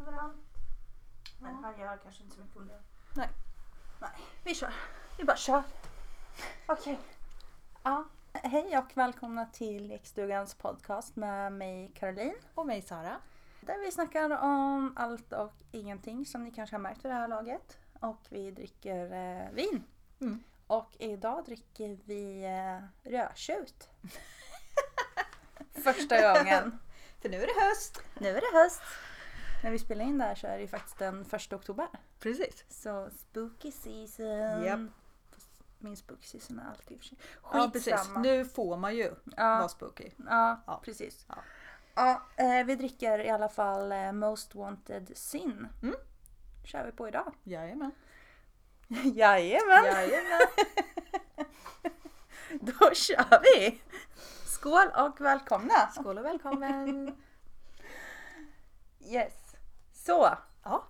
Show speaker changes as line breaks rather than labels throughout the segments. överallt. Men
Ja.
han gör kanske inte så mycket om det.
Vi kör. Vi bara kör.
Okej.
Ja. Hej och välkomna till Lekstugans podcast med mig Caroline.
Och mig Sara.
Där vi snackar om allt och ingenting som ni kanske har märkt vid det här laget. Och vi dricker eh, vin.
Mm.
Och idag dricker vi eh, rödtjut. Första gången.
För nu är det höst.
Nu är det höst. När vi spelar in det här så är det ju faktiskt den första oktober.
Precis.
Så spooky season.
Japp.
Fast Min spooky season är alltid i och för sig.
Ja, precis.
Skitsamma.
Nu får man ju vara
Ja,
spooky.
ja,
Ja.
precis.
Ja.
Ja, eh, vi dricker i alla fall eh, Most Wanted Sin.
Mm.
kör vi på idag.
Jajamän.
Jajamän!
Jajamän.
Då kör vi! Skål och välkomna!
Skål och välkommen.
Yes. Så,
ja.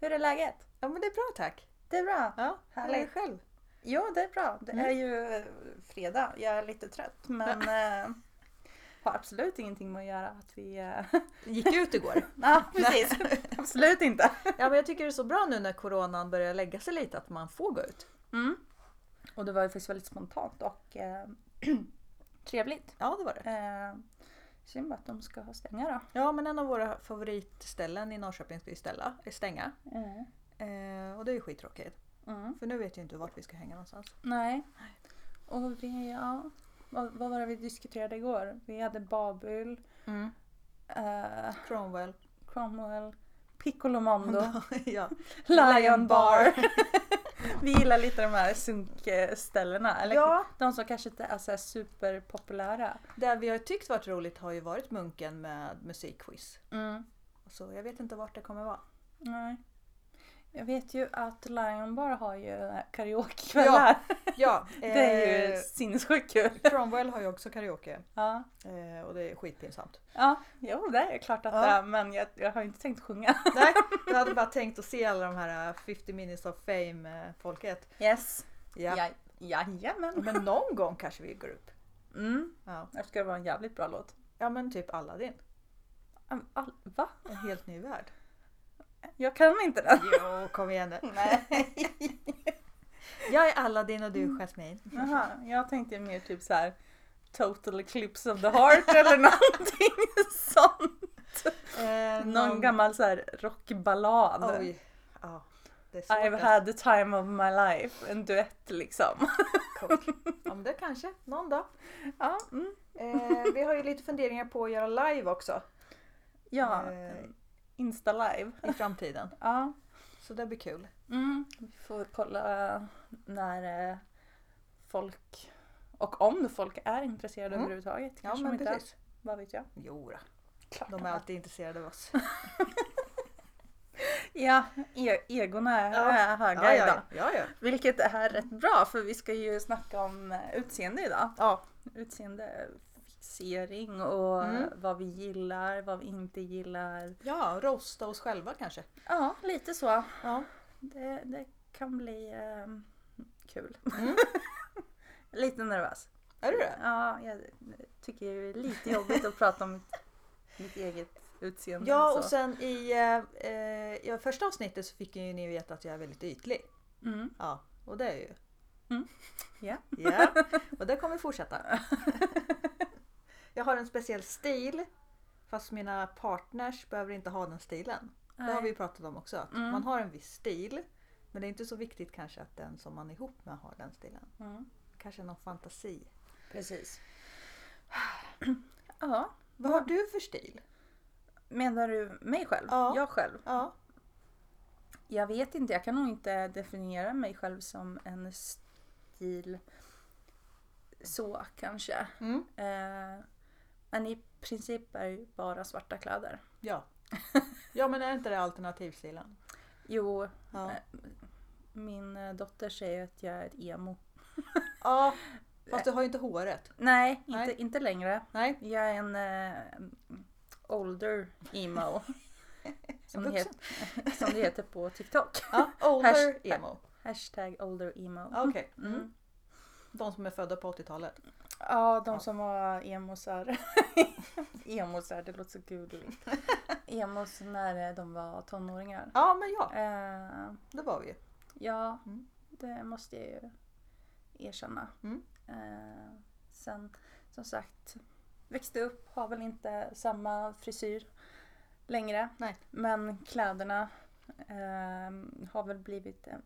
hur är läget?
ja, men det är bra tack.
Det är bra.
Ja,
Härligt.
Härligt. själv.
Jo, det är bra. Det
Mm.
är ju eh, fredag. Jag är lite trött men eh, har absolut ingenting med att göra att vi... eh,
Gick ut igår.
Ja, precis. absolut inte.
Ja, men jag tycker det är så bra nu när coronan börjar lägga sig lite att man får gå ut.
Mm. Och det var ju faktiskt väldigt spontant och eh, trevligt.
Ja, det var det.
Eh, synd bara att de ska ha stänga då.
Ja, men en av våra favoritställen i Norrköping ska ju ställa, stänga. Eh, och det är ju skittråkigt.
Mm.
För nu vet jag inte vart vi ska hänga någonstans.
Nej. Och vi, ja. Vad, vad var det vi diskuterade igår? Vi hade Babel,
Mm.
eh,
Cromwell.
Cromwell, Piccolomondo,
ja.
Lion Bar. vi gillar lite de här sunkställena. Eller
ja,
de som kanske inte är så här superpopulära.
Det vi har tyckt varit roligt har ju varit Munken med musikquiz. Mm. Så jag vet inte vart det kommer vara.
Nej. Jag vet ju att Lion Bar har ju karaokekvällar.
Ja, eh,
Det är ju sinnessjukt kul.
Cromwell har ju också karaoke
Ja.
eh, och det är skitpinsamt.
ja, jo det är klart att
Ja.
det är men jag, jag har ju inte tänkt sjunga.
Nej, jag hade bara tänkt att se alla de här eh, 50 minutes of fame-folket.
Yes.
Ja.
Jajamän.
Men någon gång kanske vi går upp.
Mm.
Ja,
Det ska vara en jävligt bra låt.
ja men typ Aladdin.
All, va?
En helt ny värld.
Jag kan inte den.
Jo, kom igen nu.
Nej.
Jag är Aladdin och du är Jasmine.
Jaha, jag tänkte mer typ så här Total Eclipse of the Heart eller någonting sånt.
Eh,
Någon gammal så här rockballad.
Oj. Ja, det är svårt.
I've
alltså.
had the time of my life. En duett liksom.
Coolt. Ja men det kanske, någon dag.
Ja, mm.
Eh, vi har ju lite funderingar på att göra live också
ja.
Eh.
Insta live.
i framtiden.
Ja.
Så det blir kul.
Mm. Vi får kolla när eh, folk och om folk är intresserade
Mm.
överhuvudtaget. Kanske de inte är. Vad vet jag.
Jo, då.
Klart
de är alltid intresserade av oss.
Ja, e- egona är
Ja.
är höga
ja,
idag.
ja, ja, ja.
Vilket är rätt bra för vi ska ju snacka om eh, utseende idag.
Ja.
Utseendefixering och
Mm.
eh, vad vi gillar, vad vi inte gillar.
ja, rosta oss själva kanske.
Ja, lite så.
Ja.
Det, det kan bli ehm, kul. lite nervös.
Mm. Är du det?
Ja, jag tycker det är lite jobbigt att prata om mitt, mitt eget utseende.
Ja,
så.
och sen i, eh, eh, i första avsnittet så fick ju ni veta att jag är väldigt ytlig.
Mm.
Ja, och det är jag ju.
Mm. Ja.
Ja, och det kommer fortsätta. Jag har en speciell stil. Fast mina partners behöver inte ha den stilen. Det har vi ju pratat om också. Att
Mm.
Man har en viss stil. Men det är inte så viktigt kanske att den som man är ihop med har den stilen.
Mm.
Kanske någon fantasi.
Precis. Ja,
Vad har du för stil?
menar du mig själv?
Ja.
Jag själv?
Ja.
Jag vet inte, jag kan nog inte definiera mig själv som en stil så kanske.
Mm.
Eh, men i princip är det bara svarta kläder.
Ja. ja, men är inte det alternativstilen?
Jo,
Ja.
min eh, dotter säger att jag är ett emo.
ja. Fast
Eh.
du har ju inte håret.
Nej, inte,
Nej.
inte längre.
Nej.
Jag är en eh, older emo. Som det,
vuxen.
heter, som det heter på TikTok.
Ja, older emo.
Hashtag older emo.
Ja, Okej.
Mm.
Mm. De som är födda på 80-talet.
Ja, de
Ja.
som var emosar. emosar, det låter så guligt. Emos när de var tonåringar.
Ja, men ja,
Eh,
det var vi ju.
ja,
Mm.
det måste jag ju erkänna.
Mm.
Eh, sen, som sagt, växte upp, har väl inte samma frisyr längre.
Nej.
Men kläderna eh, har väl blivit en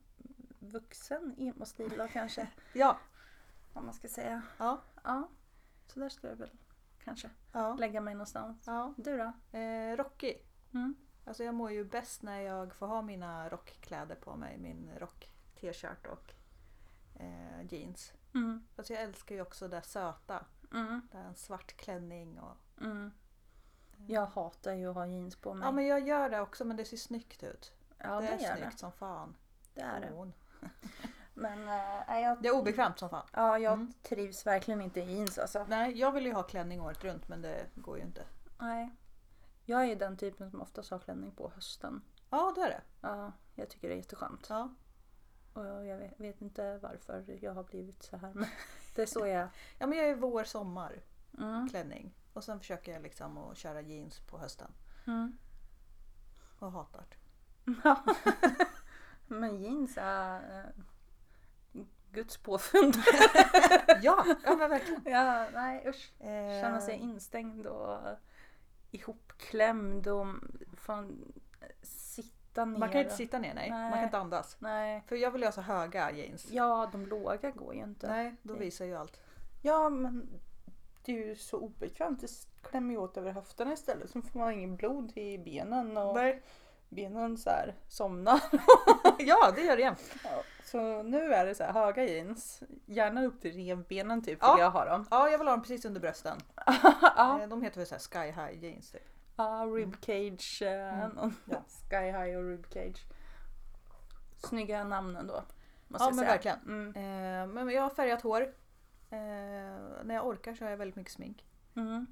vuxen emo-stil då kanske,
Ja,
om man ska säga.
ja,
Ja, så där skulle jag väl kanske
ja.
lägga mig någonstans.
ja.
Du då?
Eh, rockig.
Mm.
Alltså jag mår ju bäst när jag får ha mina rockkläder på mig. Min rock-t-shirt och eh, jeans.
Mm.
Alltså jag älskar ju också det söta.
Mm.
Det är en svart klänning och...
Mm. Jag hatar ju att ha jeans på mig.
Ja men jag gör det också men det ser snyggt ut.
Mm. Ja,
det,
det,
är
gör
snyggt
det.
som fan.
Det är det.
Hon.
Men eh, nej, jag,
Det är obekvämt som fan.
ja, jag
Mm.
trivs verkligen inte i jeans alltså.
Nej, jag vill ju ha klänning året runt men det går ju inte.
Nej. Jag är ju den typen som oftast har klänning på hösten.
Ja, det är det.
Ja, jag tycker det är jätteskönt.
Ja,
Och jag jag vet, vet inte varför jag har blivit så här men det är så jag är.
ja men jag är vår, sommar,
mm.
klänning. Och sen försöker jag liksom att köra jeans på hösten.
mm.
Och hatar det.
Ja. Men jeans är eh, Guds påfund.
Ja, ja men verkligen.
ja, nej usch.
Eh,
Känna sig instängd och ihopklämd och fan, sitta ner.
man kan ju
och-
inte sitta ner, nej.
Nej.
Man kan inte andas.
Nej.
För jag vill ju ha så höga jeans.
Ja, de låga går ju inte.
Nej, då
Det-
visar ju allt.
Ja, men det är ju så obekvämt. Det klämmer ju åt över höfterna istället. Så får man ingen blod i benen och
Nej.
benen så här somnar.
Ja, det gör det jämt.
Så nu är det så här höga jeans. Gärna upp till revbenen typ,
Ja.
vill jag ha dem.
Ja, jag vill ha dem precis under brösten.
ja,
Eh, De heter väl så här sky high jeans typ.
ja Ah, ribcage. eh, någon-
Ja.
Sky high och ribcage. Snygga namn ändå. Måste
Ja,
jag
men
säga.
verkligen.
Mm.
Eh, Men jag har färgat hår. Eh, När jag orkar så har jag väldigt mycket smink.
Mm.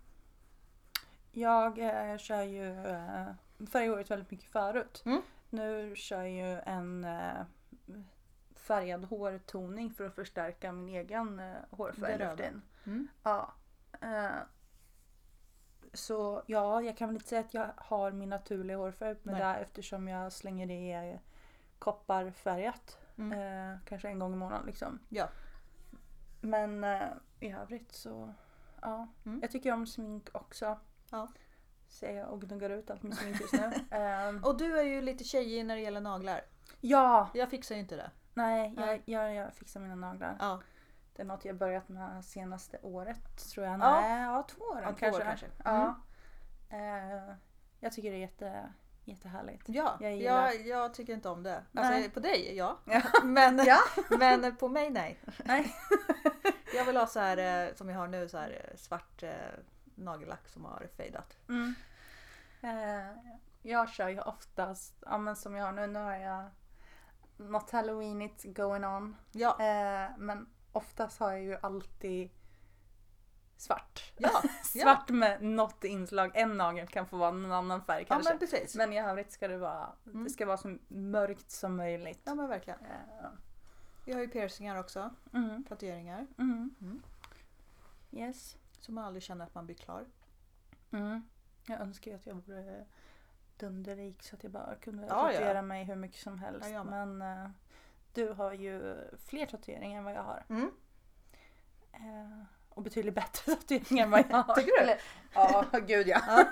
Jag eh, kör ju eh, färg i håret väldigt mycket förut.
Mm.
Nu kör jag ju en eh, färgad hårtoning för att förstärka min egen eh, hårfärg.
Det
nu
röda.
för tiden.
Mm.
Ja. Eh, så ja, jag kan väl inte säga att jag har min naturliga hårfärg med
Nej.
det eftersom jag slänger i eh, kopparfärgat.
Mm.
Eh, kanske en gång i månaden liksom.
Ja.
Men eh, i övrigt så ja.
Mm.
Jag tycker om smink också.
Ja.
Ser jag och gnuggar ut allt med smink just nu. Ehm,
Och du är ju lite tjejig när det gäller naglar.
ja,
Jag fixar ju inte det.
nej jag,
Nej.
jag, jag fixar mina naglar.
Ja,
Det är något jag börjat med senaste året tror jag.
Ja.
Nej, ja två år
Ja, två år
kanske.
kanske. Mm.
Ja. Eh, jag tycker det är jätte, jättehärligt.
ja.
Jag
Jag,
gillar-
jag, tycker inte om det.
Nej.
Alltså på dig, ja.
Ja.
Men,
Ja.
men på mig, nej.
Nej.
Jag vill ha så här eh, som jag har nu, så här eh, svart eh, nagellack som har fejdat.
Mm. Eh, jag kör ju oftast, ja, men som jag har nu, nu har jag något halloweenigt going on.
Ja,
Eh, men oftast har jag ju alltid svart.
ja, ja.
Svart med något inslag. En nagel kan få vara någon annan färg
ja
kanske.
men precis. Mm.
men... i övrigt ska det vara, det ska vara så mörkt som möjligt.
Ja men verkligen.
Eh,
Vi har ju piercingar också,
mm,
tatueringar.
mm.
Mm.
Yes.
Så man aldrig känner att man blir klar.
Mm. Jag önskar ju att jag vore dunderrik så att jag bara kunde
Ja, ja.
tatuera mig hur mycket som helst.
Ja, jag med.
men eh, du har ju fler tatueringar än vad jag har.
Mm.
Eh, och betydligt bättre tatueringar än vad jag har.
Tycker du?
Eller, ja, gud ja.
Ja.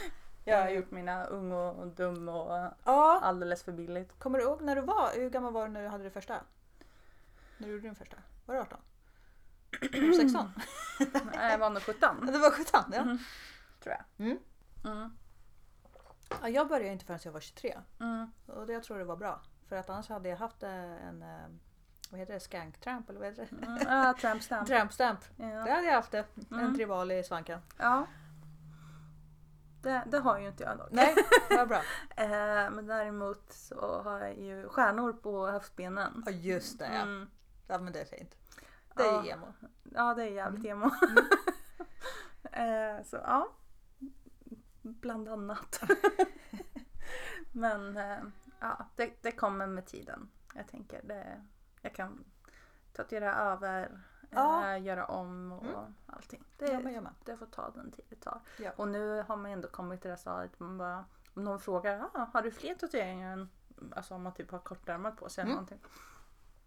jag har gjort mina ung och dum och
Ja.
alldeles för billigt.
Kommer du ihåg när du var, hur gammal var du när du hade det första? När du gjorde din första? Var du 18? Var du 16?
Nej, jag var nog 17
Det var 17 ja.
Mm. tror jag.
Mm.
Mm.
ja. Jag började inte förrän jag var 23.
Mm.
Och det jag tror det var bra. För att annars hade jag haft eh, en, eh, vad heter det, skank tramp eller vad heter det?
Mm. Ah, tramp stamp.
Tramp stamp. Det
Ja.
hade jag haft det.
Mm.
En tribal i svanken.
ja. Det, det har ju inte jag dock.
Nej, vad bra.
Eh, men däremot så har jag ju stjärnor på höftbenen.
Ja just det ja.
Mm.
ja men det är fint. Det är
ja,
ju emo.
ja, det är jävligt
Mm.
emo. eh, så ja, bland annat. men eh, ja, det, det kommer med tiden. Jag tänker det, jag kan Tatuera över,
Ja. Mm.
eh, göra om och allting. Det,
Ja, men gör man.
det får ta den tid det tar.
Ja.
Och nu har man ändå kommit till det här stadiet att man bara, om någon frågar ah, har du fler tatueringar än, alltså om man typ har kortärmat på sig eller
Mm.
någonting.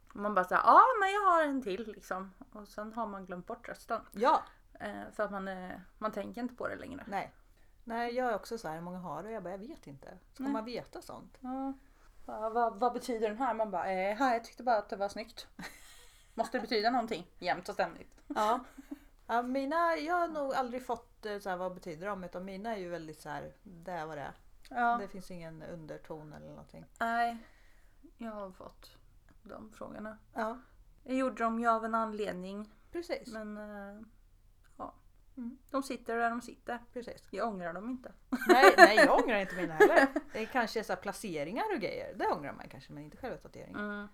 Och man bara säger ja men jag har en till liksom. Och sen har man glömt bort resten.
Ja,
Eh, för att man, eh, man tänker inte på det längre.
nej. Nej, jag är också så här, hur många har du? Jag bara, jag vet inte. Ska
Nej.
man veta sånt?
Ja. Bara, vad, vad betyder den här? Man bara, eh, här, jag tyckte bara att det var snyggt. Måste det betyda någonting jämt och ständigt?
Ja. ja mina, jag har nog aldrig fått eh, så här, vad betyder de? Utan mina är ju väldigt så här, det är vad det är.
Ja.
Det finns ingen underton eller någonting.
Nej, jag har fått de frågorna.
Ja,
Jag gjorde dem ju av en anledning,
precis.
men eh, ja.
Mm.
De sitter där de sitter.
precis.
Jag ångrar dem inte.
Nej, nej, jag ångrar inte mina heller. Det är kanske så här, placeringar och grejer. Det ångrar man kanske, men inte själva tatueringen.
Mm.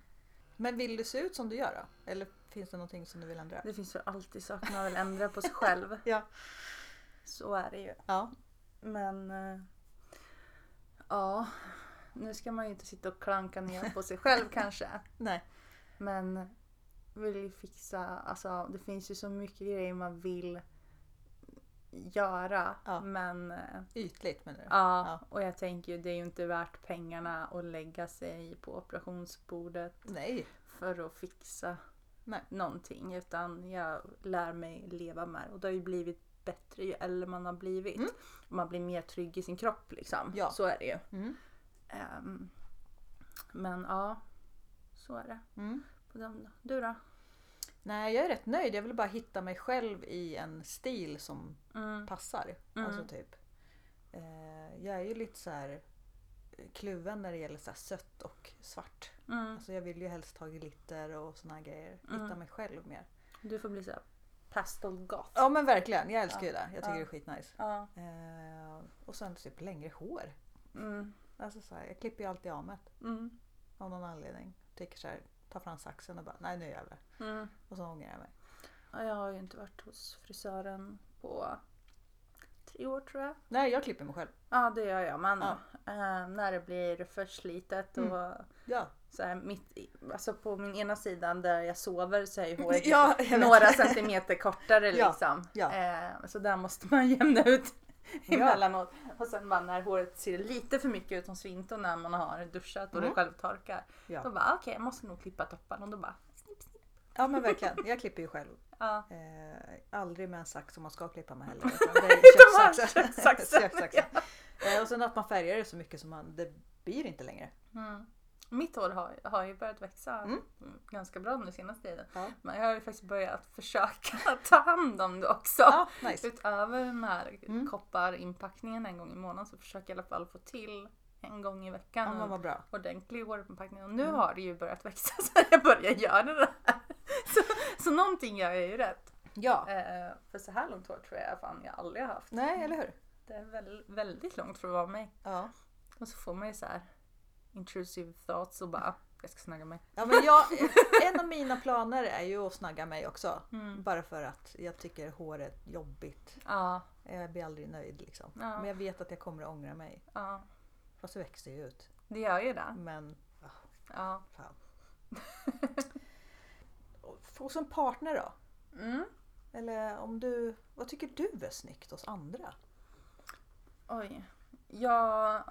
Men vill du se ut som du gör då? Eller finns det någonting som du vill ändra?
Det finns väl alltid saker man vill ändra på sig själv.
Ja.
Så är det ju.
Ja.
Men eh, ja, nu ska man ju inte sitta och klanka ner på sig själv kanske.
Nej.
Men vill ju fixa, alltså det finns ju så mycket grejer man vill göra.
Ja.
Men eh,
Ytligt menar du?
ja,
Ja.
och jag tänker ju det är ju inte värt pengarna att lägga sig på operationsbordet
Nej.
för att fixa
Nej.
någonting. Utan jag lär mig leva med det. Och det har ju blivit bättre ju äldre man har blivit.
Mm.
Man blir mer trygg i sin kropp liksom.
Ja.
Så är det ju.
Mm.
Ehm, men ja, så är det.
Mm.
På den då. Du då?
Nej, jag är rätt nöjd. Jag vill bara hitta mig själv i en stil som
Mm.
passar.
Mm.
Alltså typ. Eh, jag är ju lite så här eh, kluven när det gäller så här sött och svart.
Mm.
Alltså jag vill ju helst ha glitter och såna här grejer.
Mm.
Hitta mig själv mer.
Du får bli såhär pastel goth.
Ja men verkligen, jag älskar ju det. Jag tycker
Ja.
det är skitnice.
Ja.
Eh, och sen typ längre hår.
Mm.
Alltså så här, jag klipper ju alltid av mig
Mm.
av någon anledning. Tycker så här, tar fram saxen och bara nej nu jävlar.
Mm.
Och så ångrar jag mig.
Ja, Jag har ju inte varit hos frisören på tre år tror jag.
Nej jag klipper mig själv.
Ja det gör jag men
Ja. Mm.
eh, när det blir för slitet och
Ja.
så här mitt, i- alltså på min ena sidan där jag sover så är ju håret
Ja, jag vet.
några centimeter kortare
Ja,
liksom.
ja.
Eh, så där måste man jämna ut
Ja.
emellanåt. Och sen bara när håret ser lite för mycket ut som svinton när man har duschat och det självtorkar.
Mm. Ja.
Då bara "Ah, okej jag måste nog klippa topparna och då bara snipp snipp.
Ja men verkligen, jag klipper ju själv.
Ja.
Eh, aldrig med en sax om man ska klippa med heller. utan det är
här
kökssaxen.
kökssaxen,
Kökssaxen. Eh, och sen att man färgar det så mycket som man, det blir inte längre.
Mm. Mitt hår har, har ju börjat växa
Mm.
ganska bra nu senaste tiden.
Ja,
Men jag har ju faktiskt börjat försöka ta hand om det också.
ja nice.
Utöver den här
Mm.
kopparinpackningen en gång i månaden så försöker jag i alla fall få till en gång i
Ja,
veckan
men
en
vad Mm. bra.
ordentlig hårinpackning. Och nu har det ju börjat växa så jag börjar göra det här. Så, så någonting gör jag ju rätt.
Ja.
Eh, för så här långt hår tror jag fan jag aldrig har haft.
Nej, eller hur?
Det är väl, väldigt långt för att vara mig.
Ja.
Och så får man ju så här intrusive thoughts och bara jag ska snagga mig.
Ja, men jag, en av mina planer är ju att snagga mig också.
Mm.
Bara för att jag tycker håret är jobbigt.
Ja,
Jag blir aldrig nöjd liksom.
Ja.
Men jag vet att jag kommer att ångra mig.
ja.
Fast det växer ju ut.
Det gör ju det.
Men
Ja.
fan. Och- och som partner då?
Mm.
Eller om du, vad tycker du är snyggt hos andra?
Oj. Jag,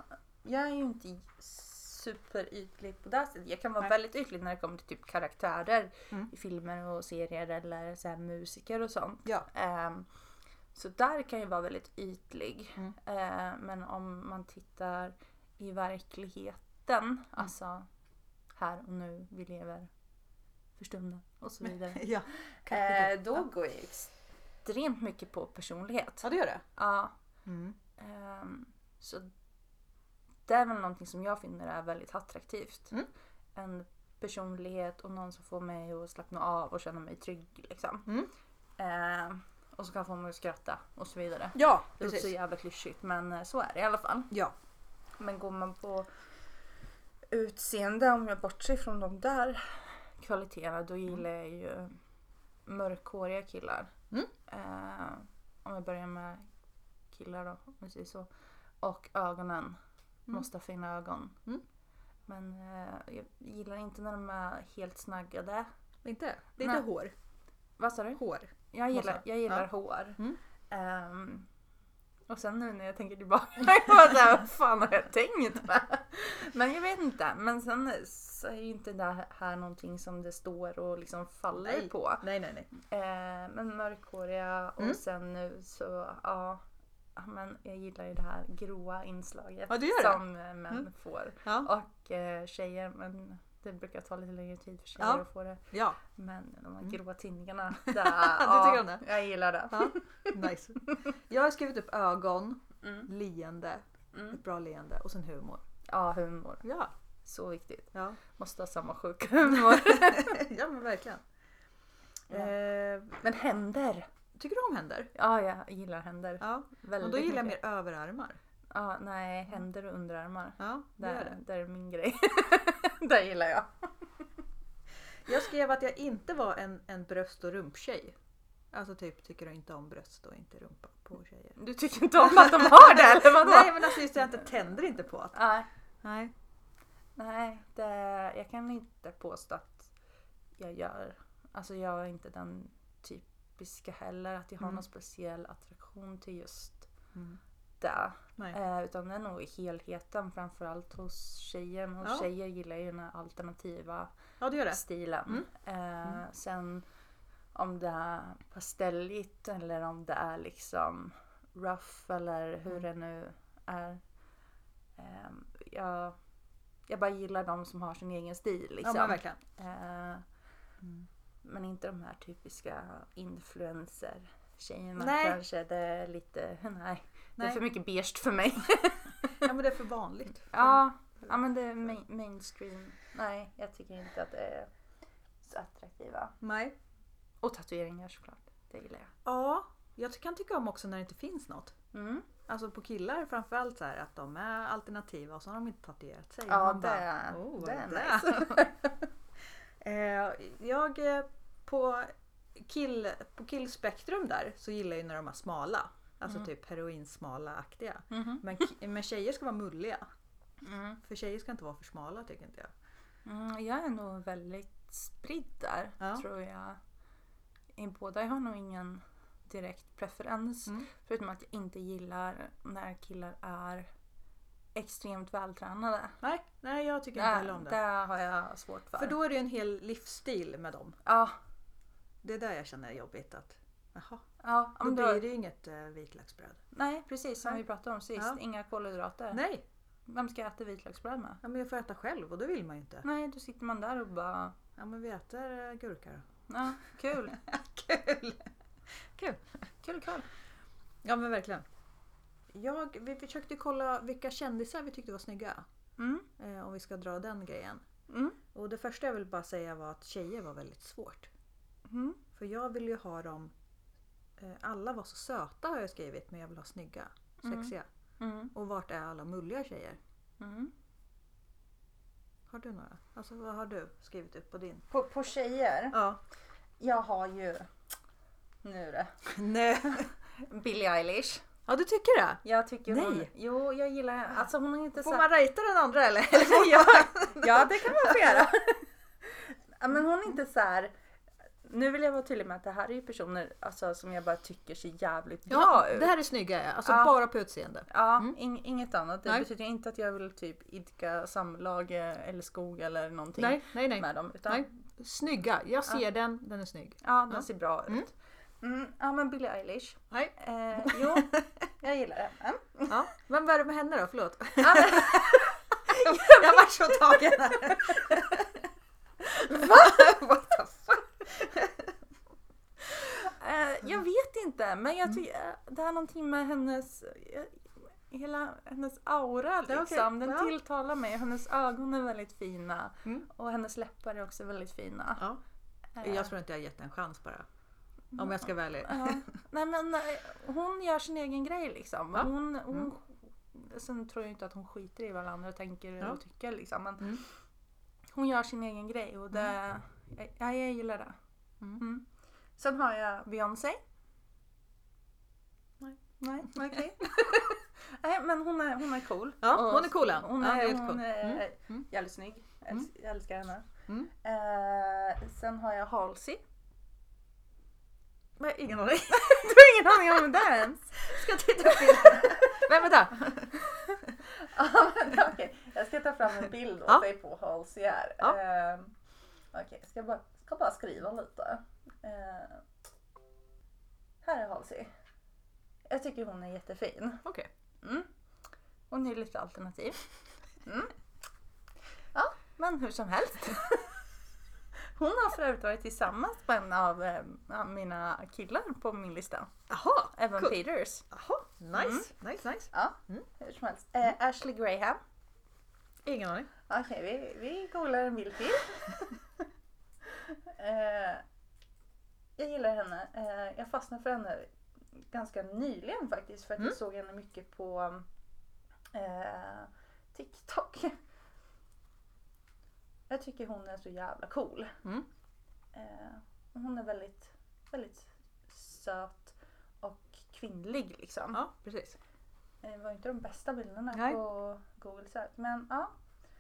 jag är ju inte superytlig på det sättet. Jag kan vara
Nej.
väldigt ytlig när det kommer till typ karaktärer
Mm.
i filmer och serier eller så här musiker och sånt.
Ja.
Ehm, så där kan jag vara väldigt ytlig.
Mm.
Ehm, men om man tittar i verkligheten,
Mm.
alltså här och nu, vi lever för stunden och så vidare.
ja.
Eh, då går jag extremt mycket på personlighet.
Ja, det gör det.
Ja,
Mm.
Ehm, så det är väl någonting som jag finner är väldigt attraktivt.
Mm.
En personlighet och någon som får mig att slappna av och känna mig trygg. Liksom.
Mm.
Ehm, och som kan få mig att skratta och så vidare.
Ja,
Det låter så
precis.
jävla klyschigt men eh, så är det i alla fall.
Ja.
Men går man på utseende, om jag bortser från de där kvaliteterna, då gillar jag ju mörkhåriga killar.
Mm.
Eh, om jag börjar med killar då, om vi säger så. Och ögonen. Måste ha fina ögon.
Mm.
Men eh, jag gillar inte när de är helt snaggade.
Inte? Det är inte
Nej.
hår.
Vad sa du?
Hår.
Jag gillar,
Måste.
jag gillar
Ja.
hår.
Mm.
Ehm, och sen nu när jag tänker tillbaka, jag bara såhär, vad fan har jag tänkt med? Men jag vet inte. Men sen så är ju inte det här någonting som det står och liksom faller
Nej.
på.
Nej, nej, nej.
Eh, men mörkhåriga och
Mm.
sen nu så ja. ja, Men jag gillar ju det här gråa inslaget
Ja, du gör det.
som eh, män
Mm.
får.
Ja.
Och eh, tjejer, men det brukar ta lite längre tid för tjejer
Ja.
att få det.
ja.
Men de här
Mm.
gråa tinningarna. Där, du
tycker om det?
Jag gillar det.
ja. Nice. Jag har skrivit upp ögon,
Mm.
leende,
Mm.
ett bra leende och sen humor.
Ja, humor.
Ja.
Så viktigt.
Ja,
Måste ha samma sjuka humor.
ja men verkligen.
Ja.
Eh,
men händer!
tycker du om händer?
Ja, jag gillar händer.
Ja.
Väldigt
Men då gillar jag
mycket.
mer överarmar.
Ja, nej, händer och underarmar.
Ja, det gör
Där,
det.
där är min grej. där gillar jag.
Jag skrev att jag inte var en, en bröst och rumptjej. Alltså typ tycker jag inte om bröst och inte rumpa på tjejer.
Du tycker inte om att de har det eller vadå?
Nej men alltså just det, jag inte tänder inte på att...
Nej,
Nej.
nej det, jag kan inte påstå att jag gör. Alltså jag är inte den typiska heller. Att jag har
Mm.
någon speciell attraktion till just
Mm.
det.
Nej.
Eh, utan det är nog helheten framförallt hos tjejen. Och
Ja.
tjejer gillar ju den här alternativa
Ja det gör det.
stilen.
Mm.
Eh, Sen om det är pastelligt eller om det är liksom rough eller hur det nu är. Eh, Jag, jag bara gillar de som har sin egen stil.
Ja
Liksom.
men verkligen.
Eh,
Mm.
men inte de här typiska influencer-tjejerna
Nej.
kanske. Det är lite, nej. Det är
Nej.
för mycket beige för mig.
Ja men det är för vanligt.
Ja, ja men det är main- mainstream. Nej, jag tycker inte att det är så attraktiva.
Nej.
Och tatueringar såklart. Det gillar jag.
Ja, jag kan tycka om också när det inte finns något.
Mm.
Alltså på killar framförallt så här att de är alternativa och så har de inte tatuerat sig.
Ja,
Man
det,
bara,
är-
"Oh, vad
det
är
är
det?"
nice.
Eh, jag eh, på, kill, på killspektrum där så gillar jag ju när de är smala. Alltså typ heroinsmala-aktiga.
Mm. Mhm.
Men, ki- men tjejer ska vara mulliga.
Mm.
För tjejer ska inte vara för smala tycker inte jag.
Mm, jag är nog väldigt spridd där,
Ja.
tror jag. I båda, jag har nog ingen direkt preferens.
Mm.
Förutom att jag inte gillar när killar är extremt vältränade.
Nej, nej jag tycker inte
Där,
heller om det.
där har jag svårt för.
För då är det ju en hel livsstil med dem.
ja,
Det är där jag känner är jobbigt att jaha,
ja,
då
om
blir
du,
det ju inget eh, vitlöksbröd.
nej, precis som
Nej.
vi pratade om sist.
Ja.
Inga kolhydrater.
Nej,
Vem ska äta vitlöksbröd med?
ja, men jag får äta själv och då vill man ju inte.
Nej, då sitter man där och bara,
Ja men vi äter eh, gurka då.
ja, kul.
Kul!
Kul, kul.
Ja men verkligen. Jag, vi försökte kolla vilka kändisar vi tyckte var snygga.
Mm.
Eh, om vi ska dra den grejen.
Mm.
Och det första jag vill bara säga var att tjejer var väldigt svårt.
Mm.
För jag vill ju ha dem... Eh, alla var så söta har jag skrivit men jag vill ha snygga,
Mm.
sexiga.
Mm.
Och vart är alla mulliga tjejer?
Mm.
Har du några? Alltså vad har du skrivit upp på din?
På, på tjejer,
Ja.
jag har ju nu det.
Nej.
Billie Eilish.
Ja du tycker det?
Jag tycker hon...
Nej.
Jo, jag gillar henne. Alltså hon är inte så...
Får man rejta den andra eller?
Ja, det kan man få göra. Ja, Men hon är inte så här... Nu vill jag vara tydlig med att det här är ju personer alltså, som jag bara tycker ser jävligt bra ut.
det här är snygga ja. Alltså
Ja.
bara på utseende.
Ja, ing- inget annat. Det
Nej.
betyder inte att jag vill typ idka samlag eh, eller skog eller någonting
nej,
med dem. Utan,
Nej. Snygga, jag ser den, den är snygg.
Ja, den
Ja.
ser bra ut. Mm, ja, men Billie Eilish.
Nej.
Eh, jo, jag gillar henne.
Ja. Men vad är det med henne då? Förlåt.
Ja, men-
jag var så tagen här. Va? What the fuck?
Eh,
Mm.
jag vet inte, men jag tycker eh, det är någonting med hennes eh, Hela hennes aura
Ja, okej.
liksom, den
Ja.
tilltalar mig. Hennes ögon är väldigt fina.
Mm.
Och hennes läppar är också väldigt fina.
Ja.
Eh,
Jag tror inte jag har gett en chans bara. Om jag ska vara ärlig.
ja. Nej men eh, hon gör sin egen grej liksom.
Ja. Mm.
Hon, hon, Sen tror jag inte att hon skiter i vad alla andra tänker
Ja.
och tycker liksom. Men
Mm.
Hon gör sin egen grej och det, jag, jag, jag gillar det.
Mm.
Mm. Sen har jag Beyoncé.
Nej.
Nej, okej. Nej, men hon är, hon är cool.
Ja,
Och
hon är cool ja.
Hon
ja,
är,
helt
hon
cool.
är
Mm.
jävligt snygg. Jag älskar, jag älskar henne.
Mm.
Eh, Sen har jag Halsey. Men jag har ingen aning. Du har ingen aning om vem det är ens?
Ska jag titta på bilden?
Men vänta! ja, men, okej. Jag ska ta fram en bild åt
Ja.
dig på Halsey här.
Ja.
Ehm, Okej, jag ska bara, ska bara skriva lite. Ehm, här är Halsey. Jag tycker hon är jättefin.
Okej.
Mm. Hon är lite alternativ. Mm. Ja, men hur som helst. Hon har för övrigt varit tillsammans med en av eh, ja, mina killar på min lista.
Jaha,
Evan
Cool.
Peters.
jaha. Nice, nice, nice.
Ja,
Mm.
hur som helst. Eh, Ashley Graham.
Ingen aning.
Okej, vi, vi googlar en bild till. eh, jag gillar henne. Eh, jag fastnade för henne ganska nyligen faktiskt för att
Mm.
jag såg henne mycket på eh, TikTok. Jag tycker hon är så jävla cool.
Mm.
Eh, och hon är väldigt, väldigt söt och kvinnlig liksom. Eh,
Ja, precis.
Det var inte de bästa bilderna
Nej.
på Google Search. Men ja.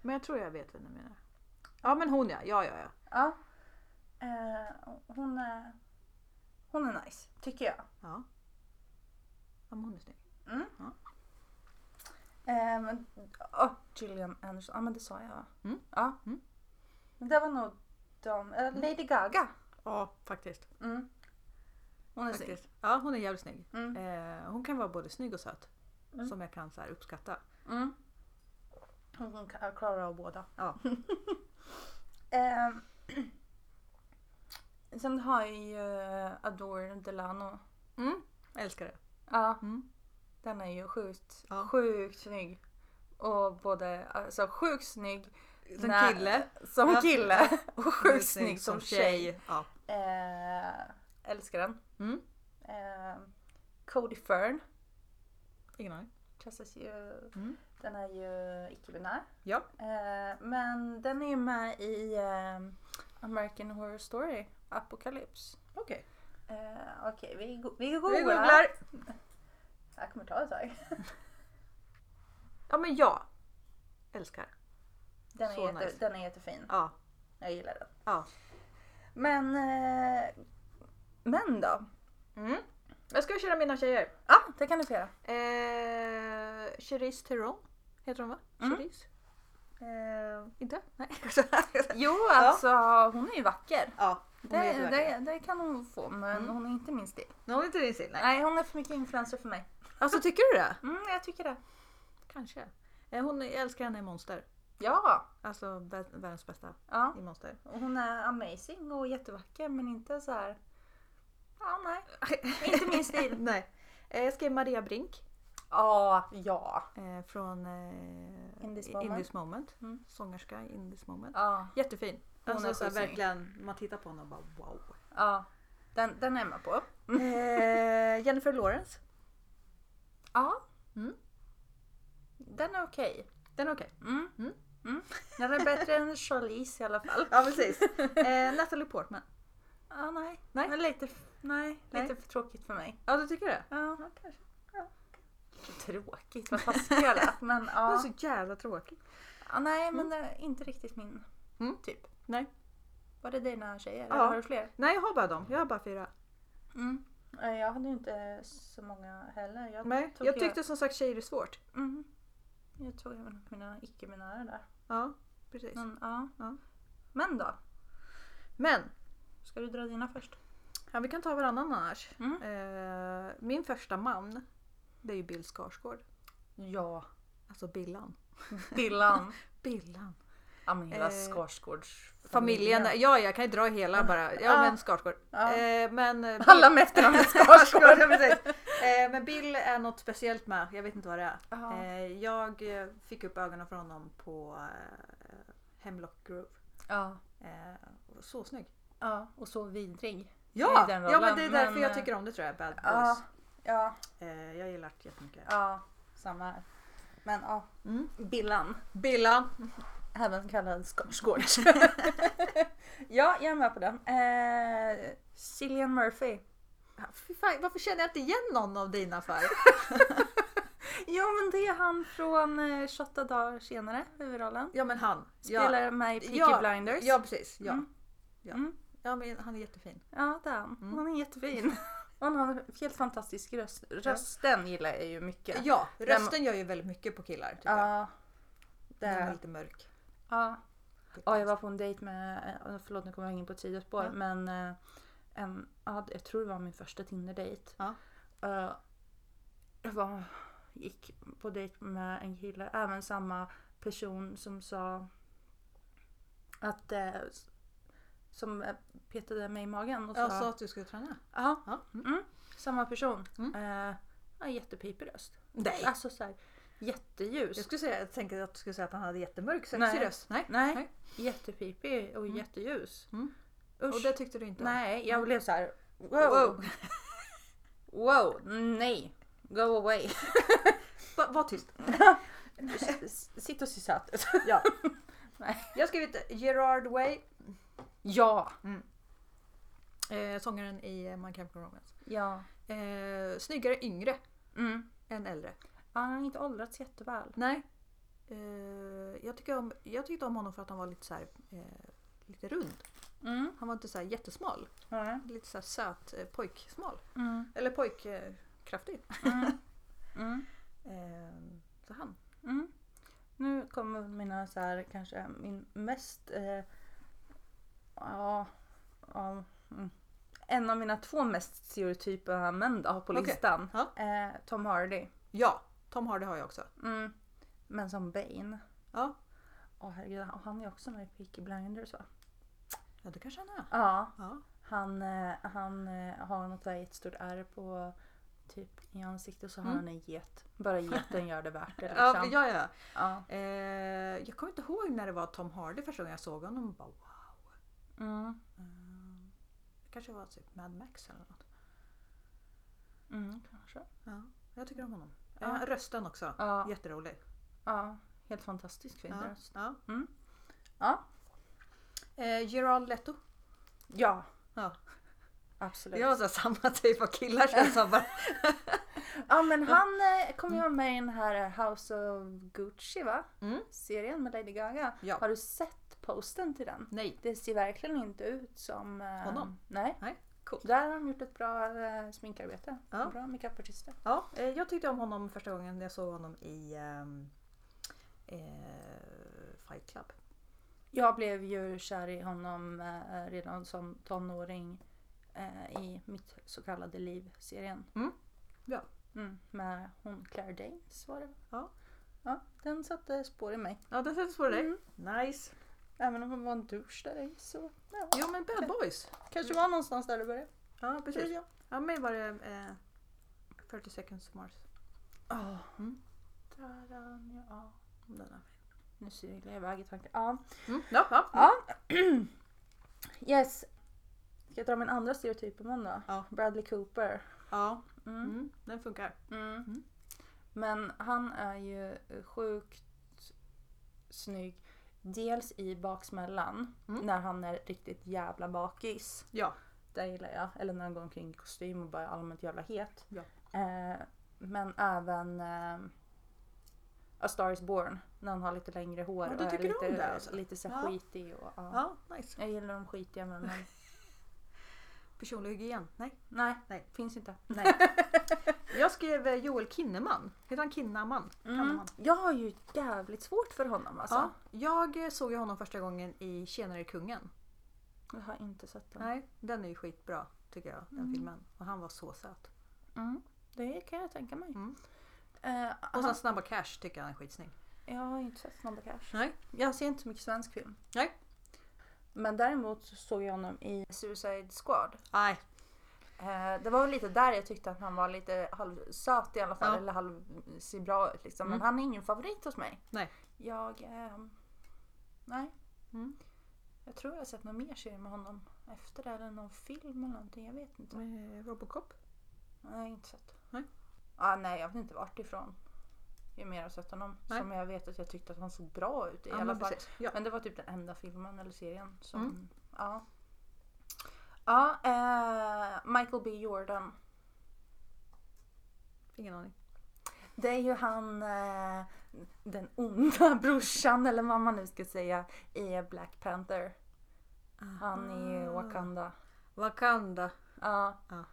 Men jag tror jag vet vem du menar. Ja, men hon ja. Ja, ja, ja.
ja. Eh, hon, är, hon är nice, tycker jag.
Ja, ja men hon är snygg.
Eh, men, oh, Gillian Anderson, ja men det sa jag va?
Mm.
Ja.
Mm.
Men Det var nog de, eh, Lady Gaga.
Ja, faktiskt.
Mm. Hon är snygg.
faktiskt. Ja, hon är jävligt snygg.
Mm.
Eh, hon kan vara både snygg och söt.
Mm.
Som jag kan så här uppskatta.
Mm. Hon hon kan- klarar av båda.
Ja.
Ehm, Sen har jag ju eh, Adore Delano.
Mm. Älskar det.
Ja.
Mm.
Den är ju sjukt,
Ja.
sjukt snygg. Och både, alltså sjukt snygg
Som
när-
kille.
som
Ja.
kille och
hon är
sjukt snygg som, tjej.
Ja.
Eh, älskar den.
Mm.
Eh, Cody Fern.
Ingen aning.
Klassas ju,
Mm.
den är ju icke-binär.
Ja.
Eh, men den är ju med i eh, American Horror Story, Apocalypse.
Okej.
Eh, Okej, vi, go- vi
Vi
googlar.
googlar.
Det här kommer ta ett tag.
Ja, men ja. Älskar.
Den är,
Så
jätte,
nice.
den är jättefin.
Ja.
Jag gillar den.
Ja.
Men... Eh, men då?
Mm. Jag ska köra mina tjejer.
Ja, det kan du få göra.
Eh, Cherise Theron heter hon va?
Mm.
Cherise? Eh, inte? Nej. ja,
Jo,
alltså,
alltså hon är ju vacker.
hon
Det,
är jättevacker.
det, det kan hon få, men
Mm.
hon är inte min stil.
Nej, Hon är inte din stil,
Nej.
nej.
hon är för mycket influencer för mig.
Alltså tycker du det?
Mm, jag tycker det.
Kanske. Eh, hon, jag älskar henne i Monster.
Ja,
Alltså vä- världens bästa
ja.
i Monster.
Och Hon är amazing och jättevacker, men inte så här... Ja, nej. Inte min stil.
nej. Eh, jag skrev Maria Brink
Ja, ja.
eh, från eh,
In this
I-
moment.
Moment.
Mm.
Sångerska i In this moment.
Ja,
Jättefin.
Hon
Alltså,
är
så här,
skitsnygg.
verkligen, man tittar på henne och bara wow.
ja. Den, den är jag med på.
Eh, Jennifer Lawrence.
Ja.
Mm.
Den är okej.
Den är okej.
Mm.
Mm.
Mm. Den är bättre än Charlize i alla fall.
Ja precis. Eh, Natalie Portman.
Ja, nej.
Nej.
Men lite, f- nej,
Nej.
lite för tråkigt för mig.
Ja du tycker det?
Ja.
Ja kanske.
Tråkigt, vad taskig jag lät. Men
Hon är
ja.
så jävla tråkig.
ja nej, men det är inte riktigt min
Mm.
typ.
Nej.
Var det dina tjejer?
Ja.
Eller har du fler?
Nej jag har bara dem. Jag har bara fyra.
Mm. Jag hade ju inte så många heller. Jag
Nej,
tog
jag tyckte som sagt tjejer är svårt.
Jag, mm. jag tog även upp mina icke-binära där.
Ja precis.
Men, ja.
Ja.
men då?
Men
Ska du dra dina först?
ja, vi kan ta varannan annars.
Mm.
Eh, min första man det är ju Bill Skarsgård.
Ja.
Alltså Billan.
Billan.
Billan.
Ja men hela
Eh,
Skarsgårds
Familjen. Ja jag kan ju dra hela bara. Ja
Ah.
men Skarsgård.
Ja.
Eh, men eh,
Alla med efternamnet Skarsgård.
ja, precis. Eh, men Bill är något speciellt med. Jag vet inte vad det är.
Ja.
Eh, jag eh, fick upp ögonen för honom på eh, Hemlock Grove.
ja.
Eh, så snygg.
ja. Och så vidrig.
Ja,
I den
ja men
rollen,
det är därför
men,
jag
eh,
tycker om det tror jag. Bad
Ja.
Boys.
Ja.
Eh, jag gillar det jättemycket.
Ja. Samma här. Men ja.
Mm.
Billan.
Billan.
Även kallad Skarsgård. ja, jag är med på den. Eh, Cillian Murphy.
Ah, Fy fan, varför känner jag inte igen någon av dina för?
Jo men det är han från eh, 28 dagar senare, huvudrollen.
ja men han. Ja,
Spelar med i Peaky
Ja,
Blinders.
ja precis. Ja.
Mm.
Ja.
Mm.
Ja, men han är jättefin.
Ja, det är han.
Mm.
Han är jättefin. Och han har en helt fantastisk röst. Rösten gillar jag ju mycket.
Ja, rösten gör ju väldigt mycket på killar. Tycker jag.
Ja. Det
Den är
är
lite mörk.
Ja. ja, jag var på en dejt med, eh, förlåt nu kommer jag in på ett sidospår,
Ja.
men eh, en, ja, jag tror det var min första Tinder-dejt.
Ja.
Eh, Jag var, gick på dejt med en kille, även samma person som sa att, eh, s- som eh, petade mig i magen och sa,
Jag sa att du skulle träna.
ja,
Ja. Mm.
mm, samma person.
Mm.
Eh, ja, jättepipig röst.
Nej!
Alltså såhär jätteljus.
Ah, Jag skulle säga, jag tänkte att du skulle säga att han hade jättemörk sexig
Nej.
röst. Nej.
Nej, jättepipig och jätteljus.
Mm.
Usch.
Och det tyckte du inte om?
Nej, jag blev så här. Wow. wow.
Wow.
nej. Go away.
Va- Var tyst.
Mm. S- s- Sitt och sy söt.
Ja.
Nej.
Jag har skrivit eh, Gerard Way,
Ja.
eh, sångaren i eh, My Chemical Romance.
Ja.
Eh, snyggare yngre
Mm.
än äldre.
Ja, Han har inte åldrats jätteväl.
Nej. Eh, jag, tycker om, jag tyckte om honom för att han var lite så här, eh, lite rund.
Mm.
Han var inte så här jättesmal.
Ja.
Lite så här söt eh, pojksmal.
Mm.
Eller eh, pojkkraftig.
Mm. Mm.
Eh, så han.
Mm. Nu kommer mina så här kanske min mest eh, ja, ja, mm. en av mina två mest stereotypa män då på
Okej.
listan.
Ja.
Eh, Tom Hardy.
Ja, Tom Hardy har jag också.
Mm. Men som Bane.
Ja,
Åh herregud, han- han är också med i Peaky Blinders va?
ja det kanske han är.
Ja.
Ja.
Han, eh, han eh, har något där jättestort ärr på typ i ansiktet och så har
Mm.
han en get. Bara geten gör det värt det liksom.
Ja, ja, ja.
Ja.
Eh, jag kommer inte ihåg när det var Tom Hardy första gången jag såg honom. Bara, wow. Eh,
Mm.
Det kanske var typ Mad Max eller något.
Mm, kanske.
Ja, jag tycker om honom.
Ja.
Eh, rösten också.
Ja,
Jätterolig.
ja. Helt fantastisk fin
Ja.
röst.
Ja.
Mm. Ja.
Eh, Gerard Leto.
Ja.
Ja.
Absolut.
Vi har så här samma typ av killar känns som. bara.
Ja men han eh, kommer ju vara med i den här eh, House of Gucci va?
Mm.
Serien med Lady Gaga.
Ja.
Har du sett posten till den?
Nej.
Det ser verkligen inte ut som... eh,
Honom?
Nej.
Nej, coolt.
Där har de gjort ett bra eh, sminkarbete.
Ja.
Bra makeupartister.
Ja, eh, jag tyckte om honom första gången jag såg honom i ehm, eh, Fight Club.
Jag blev ju kär i honom eh, redan som tonåring eh, i mitt så kallade liv-serien.
Mm. Ja.
Mm, med hon Claire Danes var det va?
Ja.
ja. Den satte spår i mig.
Ja, den sätts på dig.
Mm.
Nice.
Även om hon var en douche där i så ja.
Jo men Bad Boys.
kanske var någonstans där det började.
Ja,
Tror
precis.
jag.
Ja, mig var det eh, 30 seconds to Mars.
Ja.
Mm.
Där är han ju, ja.
Den där.
Nu cyklar jag iväg i tanken. Ja.
Mm. Ja, ja.
Yes. Ska jag dra min andra stereotyp om honom då?
Ja.
Bradley Cooper.
ja.
Mm.
Mm. den funkar.
Mm.
Mm.
Men han är ju sjukt snygg. Dels i baksmällan,
Mm.
när han är riktigt jävla bakis.
Ja.
Det gillar jag. Eller när han går omkring i kostym och bara är allmänt jävla het.
Ja.
Eh, men även eh, A Star Is Born, när han har lite längre hår
Ja,
och
du
är
tycker om
lite,
det alltså?
lite så
Ja.
här skitig. Och, ja.
Ja, nice.
Jag gillar de skitiga men, men
Personlig hygien? Nej.
nej,
Nej.
finns inte. Nej.
Jag skrev eh, Joel Kinnaman. Heter han Kinnaman?
Mm.
Kinnaman.
Jag har ju jävligt svårt för honom alltså.
Ja, jag eh, såg ju honom första gången i Tjenare kungen.
Jag har inte sett den.
Nej, den är ju skitbra tycker jag, den filmen. Och han var så söt.
Mm, det kan jag tänka mig.
Mm.
Eh,
Och
han-
sen Snabba Cash tycker jag han är skitsnygg.
jag har ju inte sett Snabba Cash.
Nej.
Jag ser inte så mycket svensk film.
Nej.
Men däremot så såg jag honom i Suicide Squad.
Nej.
Eh, det var väl lite där jag tyckte att han var lite halvsöt i alla fall.
Ja.
Eller halv ser bra ut liksom. Men
Mm.
han är ingen favorit hos mig.
Nej.
Jag... ehm, nej.
Mm.
Jag tror jag har sett någon mer serie med honom efter det. Eller någon film eller någonting. Jag vet inte.
Eh, Robocop?
Nej, inte sett.
Nej.
Ah, nej, jag vet inte vart ifrån. Ju mer jag har sett honom.
Nej.
Som jag vet att jag tyckte att han såg bra ut i
Ja,
alla
men
fall.
precis. Ja. Mm.
Men det var typ den enda filmen eller serien som... Ja. Ja, eh, Michael B Jordan.
Ingen aning.
Det är ju han, eh, den onda brorsan eller vad man nu ska säga i Black Panther. Han är
Ah.
ju Wakanda.
Wakanda.
Ja.
Ja.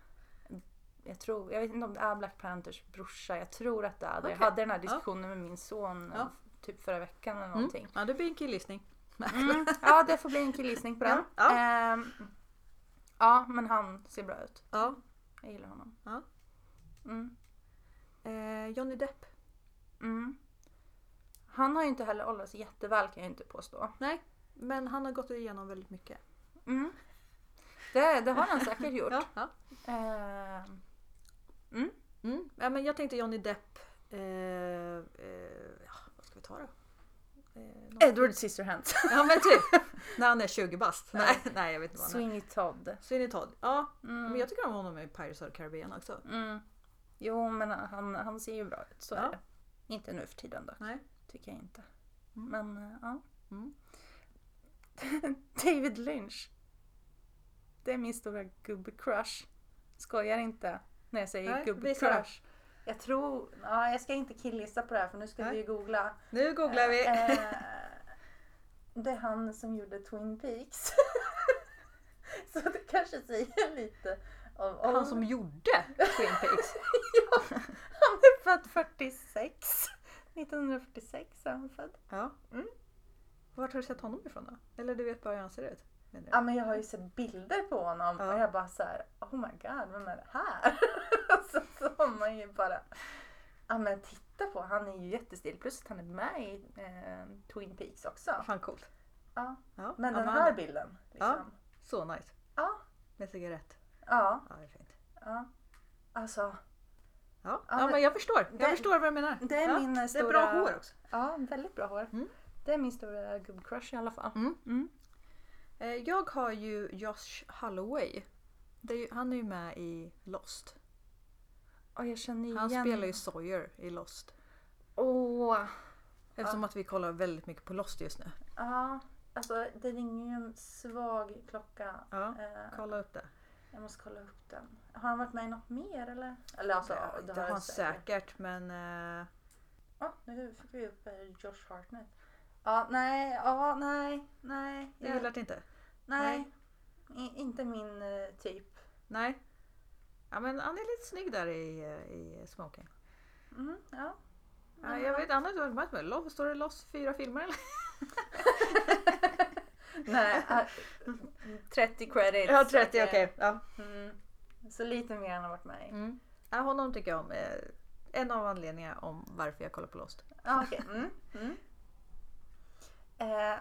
Jag, tror, jag vet inte om det är Black Panthers brorsa. Jag tror att det är det. Jag
Okej.
hade den här diskussionen med min son
Ja.
typ förra veckan eller
Mm.
någonting.
Ja, det blir en killgissning.
Mm. Ja, det får bli en killgissning på den.
Ja.
Ehm, ja, men han ser bra ut.
Ja.
Jag gillar honom.
Ja.
Mm.
Eh, Johnny Depp.
Mm. Han har ju inte heller åldrats jätteväl kan jag inte påstå.
Nej, men han har gått igenom väldigt mycket.
Mm. Det, det har han säkert gjort.
Ja, ja.
Ehm,
Mm. ja men jag tänkte Johnny Depp. Eh, eh, ja, vad ska vi ta då? Eh, någon-
Edward Scissorhands.
ja men typ! När han är 20 bast. Nej, nej jag vet inte vad han är.
Sweeney Todd.
Sweeney Todd. Ja,
Mm.
men jag tycker om honom i Pirates of the Caribbean också.
Mm. Jo, men han, han ser ju bra ut. Så
Ja.
är det. Inte nu för tiden dock.
Nej.
Tycker jag inte.
Mm.
Men eh, ja.
Mm.
David Lynch. Det är min stora gubbe-crush. Skojar inte när jag säger
Nej,
gubbe-crush.
visa
Jag tror... Ja, jag ska inte killgissa på det här för nu ska
Nej.
vi ju googla.
Nu googlar vi!
Eh, det är han som gjorde Twin Peaks. Så det kanske säger lite om
Han
åldern.
som gjorde Twin Peaks.
Han är född 46. 1946 är han född.
Ja.
Mm.
Vart har du sett honom ifrån då? Eller du vet bara hur han ser ut? menar du?
Ja men jag har ju sett bilder på honom
Ja.
och jag bara så här, oh my god, vem är det här? så, så har man ju bara, ja men titta på, han är ju jättestil. Plus att han är med i eh, Twin Peaks också.
Fan coolt.
Ja.
Ja.
Men
ja,
den
han-
här bilden, liksom.
Så nice.
Ja.
Med cigarett.
Ja,
Ja, det är fint.
ja. Alltså,
Ja,
Ja,
ja
men-
men jag förstår. Jag
det-
förstår vad du menar.
det är
ja.
min
det är
stora...
bra hår också.
Ja, väldigt bra hår.
Mm.
Det är min stora gubbcrush i alla fall.
Mm. Eh, Jag har ju Josh Holloway. Det är ju, han är ju med i Lost.
Och jag känner igen...
Han spelar ju Sawyer i Lost.
Åh,
Eftersom att vi kollar väldigt mycket på Lost just nu.
Ja, alltså det ringer ju en svag klocka.
Ja,
Eh,
kolla upp det.
jag måste kolla upp den. Har han varit med i något mer eller? Eller alltså,
det,
det,
har
jag
han säkert men... eh,
Ja, nu fick vi upp eh, Josh Hartnett. Ja, nej, ja, nej, nej.
jag
ja,
gillar det inte.
nej. I, inte min eh, typ.
Nej. Ja men han är lite snygg där i, eh, i Smoking.
Mm, ja.
Ja, jag vet, han har inte varit med med Love. Står det Lost fyra filmer eller?
Nej, eh, 30 credits.
Ja.
Mm, så lite mer än han har varit med i.
Mm. Ja, honom tycker jag om. eh, En av anledningarna om varför jag kollar på Lost.
Ja, okej. Mm. Mm. Eh,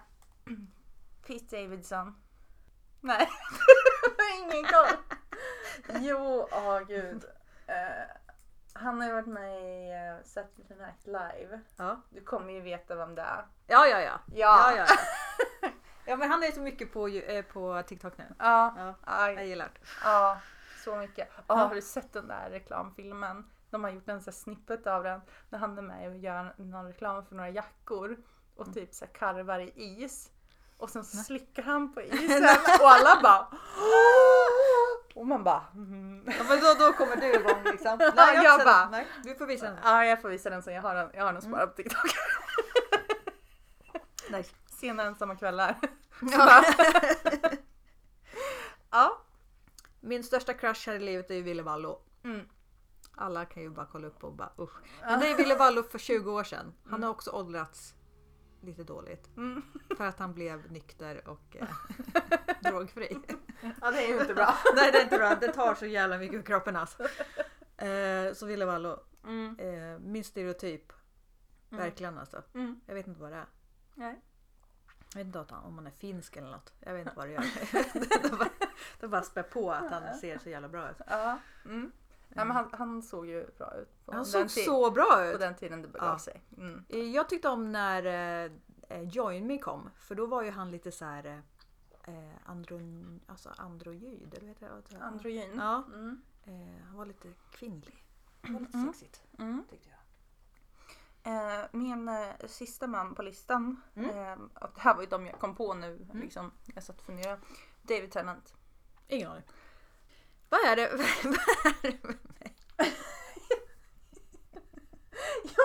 Pete Davidson. Nej, jag har ingen koll. Jo, åh gud. Eh, han har ju varit med i eh, Saturday Night Live.
Ja,
Du kommer ju veta vem det är.
ja, ja. ja.
Ja,
Ja, ja, ja. ja men han är så mycket på, ju- eh, på TikTok nu.
ja.
Ja, jag
Aj,
gillar
ja så mycket. Ja,
Ja.
Har du sett den där reklamfilmen? De har gjort en sån här snippet av den. När han är med och gör någon reklam för några jackor och typ så här karvar i is. Och sen så slickar han på isen och alla bara Och man bara mm.
ja, men då, då kommer du igång liksom. Nej,
Ja,
har
jag
inte sett
bara-
den. Nej, du får visa den.
Ja Mm. jag får visa den sen, jag har den, jag har den sparad på TikTok.
Nej.
Sena ensamma kvällar.
Ja. ja. Min största crush här i livet är ju Ville Vallo.
Mm.
Alla kan ju bara kolla upp och bara usch. Men det är Ville Vallo för 20 år sedan. Han har också åldrats lite dåligt.
Mm.
För att han blev nykter och eh, drogfri.
Ja det är ju inte bra.
Nej det är inte bra, det tar så jävla mycket ur kroppen alltså. Eh, så Ville Vallo,
Mm.
eh, min stereotyp. Verkligen alltså.
Mm.
Jag vet inte vad det är.
Nej.
Jag vet inte att han- om han är finsk eller något. Jag vet inte vad det gör. det, bara, det bara spär på att han ser så jävla bra ut.
Ja. Mm. Ja, men han, han såg ju bra ut. På
Han
den
såg
ti-
så bra
På
ut!
den tiden det begav
Ja.
sig. Mm.
Eh, Jag tyckte om när eh, eh, Join Me kom. För då var ju han lite så här eh, andron, alltså android. Eller vet jag, vad det heter.
Androgyn.
Ja,
Mm.
eh, han var lite kvinnlig. Det var lite
Mm.
sexigt
Mm.
tyckte jag.
Eh, min eh, sista man på listan,
Mm.
eh, och det här var ju de jag kom på nu, liksom, jag satt och funderade. David Tennant.
Ingen aning. Vad är det? Vad är det?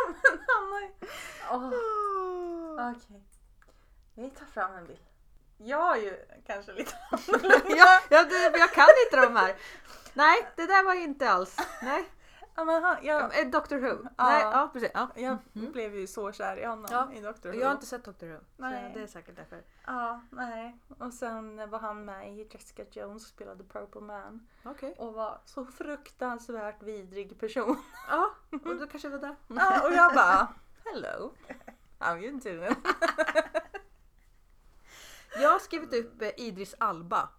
med mig?
ja men Ah. Mm. han har ju... Åh, Okej. Vi tar fram en bild.
Jag är ju kanske lite
ja, jag, det- jag kan inte de här. Nej, det där var ju inte alls. Nej.
Ja, Ah. men han, jag,
Eh, Doctor Who. Nej,
Ja.
ja, precis. Ja.
jag blev ju så kär i honom
Ja.
i Dr.
Och
Who.
Jag har inte sett Doctor Who.
Nej.
Så det är säkert därför.
Ja, nej. Och sen var han med i Jessica Jones och spelade Purple Man.
Okej.
Och var så fruktansvärt vidrig person.
Ja, och då kanske det var där.
Ja, och jag bara Hello. I'm you too.
Jag har skrivit upp eh, Idris Alba.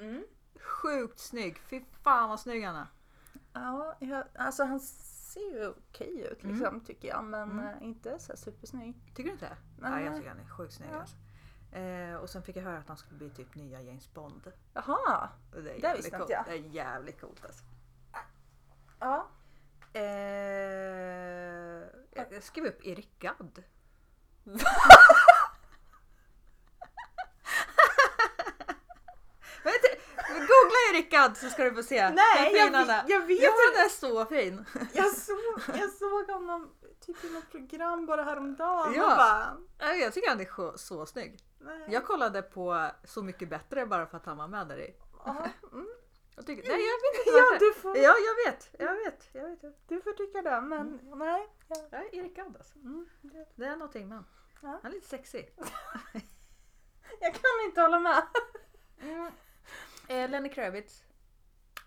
Mm.
Sjukt snygg. Fy fan vad snygg han är.
Ja, jag, alltså han ser ju okej ut liksom tycker jag. Men eh, inte så här supersnygg.
Tycker du inte det?
Nej.
Ja, jag tycker han är sjukt snygg
Ja.
alltså. eh, Och sen fick jag höra att han skulle bli typ nya James Bond.
Jaha.
Och Det är
Det
jävligt
visste
coolt.
inte jag.
Det är jävligt coolt alltså.
Ja.
Eh, jag skrev upp Erik Gadd. Vänta, Googla Erik Gadd så ska du få se.
Nej,
Hur
jag,
fin han är.
vet- jag vet
Jo, han är så fin.
Jag såg, jag såg honom typ i något program bara häromdagen
Ja.
och bara...
Nej, Jag tycker han är så, så snygg.
Nej.
Jag kollade på Så mycket bättre bara för att han var med där i.
Ja, mm.
Jag tycker, nej, jag vet inte
ja
varför.
du, får,
Ja, jag vet. Jag vet. Jag vet.
du får tycka det men nej. Jag,
Ja, Erik Gadd alltså.
mm, det-
Det är någonting med honom.
Ja.
Han är lite sexig.
jag kan inte hålla med.
Eh, Lenny Kravitz.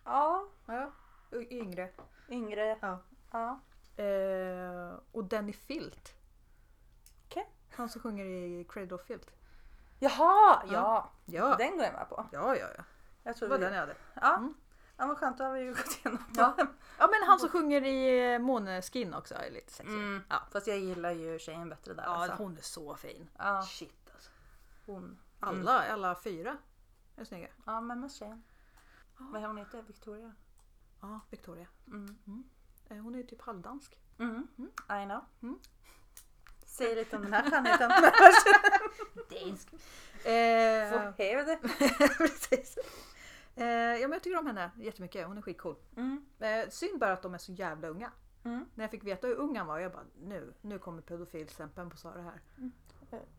Ja,
Ja. y- Yngre.
yngre.
Ja.
Ja.
Eh, och Danny Filt.
Okej.
Han som sjunger i Cradle of Filt.
Jaha,
Ja.
ja.
Ja,
Den går jag med på.
ja, ja. ja.
Jag
Det
tror
var
vi,
den jag hade.
Ja.
Mm.
ja, men skönt då har vi ju gått igenom
Ja.
dem.
Ja, men han som sjunger i eh, Måneskin också är lite sexig.
Mm.
Ja.
Fast jag gillar ju tjejen bättre där.
Ja,
alltså.
hon är så fin.
ja,
Shit alltså. Mm.
hon. Mm.
Alla, alla fyra är snygga.
Ja, men mest tjejen. Vad hon heter? Victoria?
Ja, Victoria.
Mm.
Eh, Hon är ju typ halvdansk.
Mm. I know.
Mm.
Säg lite om den här skönheten.
Eh,
Forehead.
precis. Eh, ja, men jag tycker om henne jättemycket. Hon är skitcool.
Mm.
Eh, synd bara att de är så jävla unga.
Mm.
När jag fick veta hur ung han var, jag bara nu, nu kommer pedofilstämpeln på Sara här.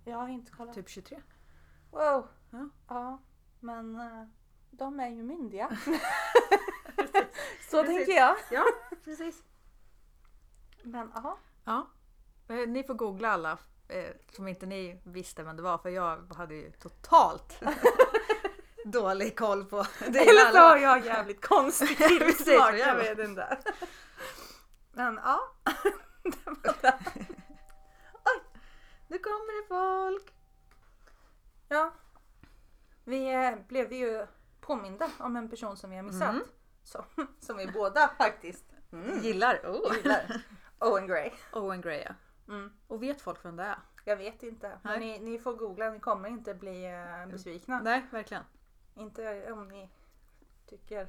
Jag har inte kollat.
Typ 23.
Wow.
Ja.
Ja, men eh, de är ju myndiga. Så
Precis.
tänker jag.
Ja, precis.
Men ja.
Ja. Eh, Ni får googla alla eh, som inte ni visste vem det var för jag hade ju totalt dålig koll på det
Eller så har
alla.
jag jävligt konstig
Precis,
filmsmak.
vad
jag
jävla-
vet inte. Men ja. Det var det.
Nu kommer det folk!
ja. Vi eh, blev ju påminda om en person som vi har missat.
Mm.
Så, som vi båda faktiskt
Gillar oh.
gillar. Owen Gray.
Owen Gray ja.
Mm.
Och vet folk vem det är?
Jag vet inte. Men ni, ni får googla, ni kommer inte bli eh, besvikna.
Nej, verkligen.
Inte om ni tycker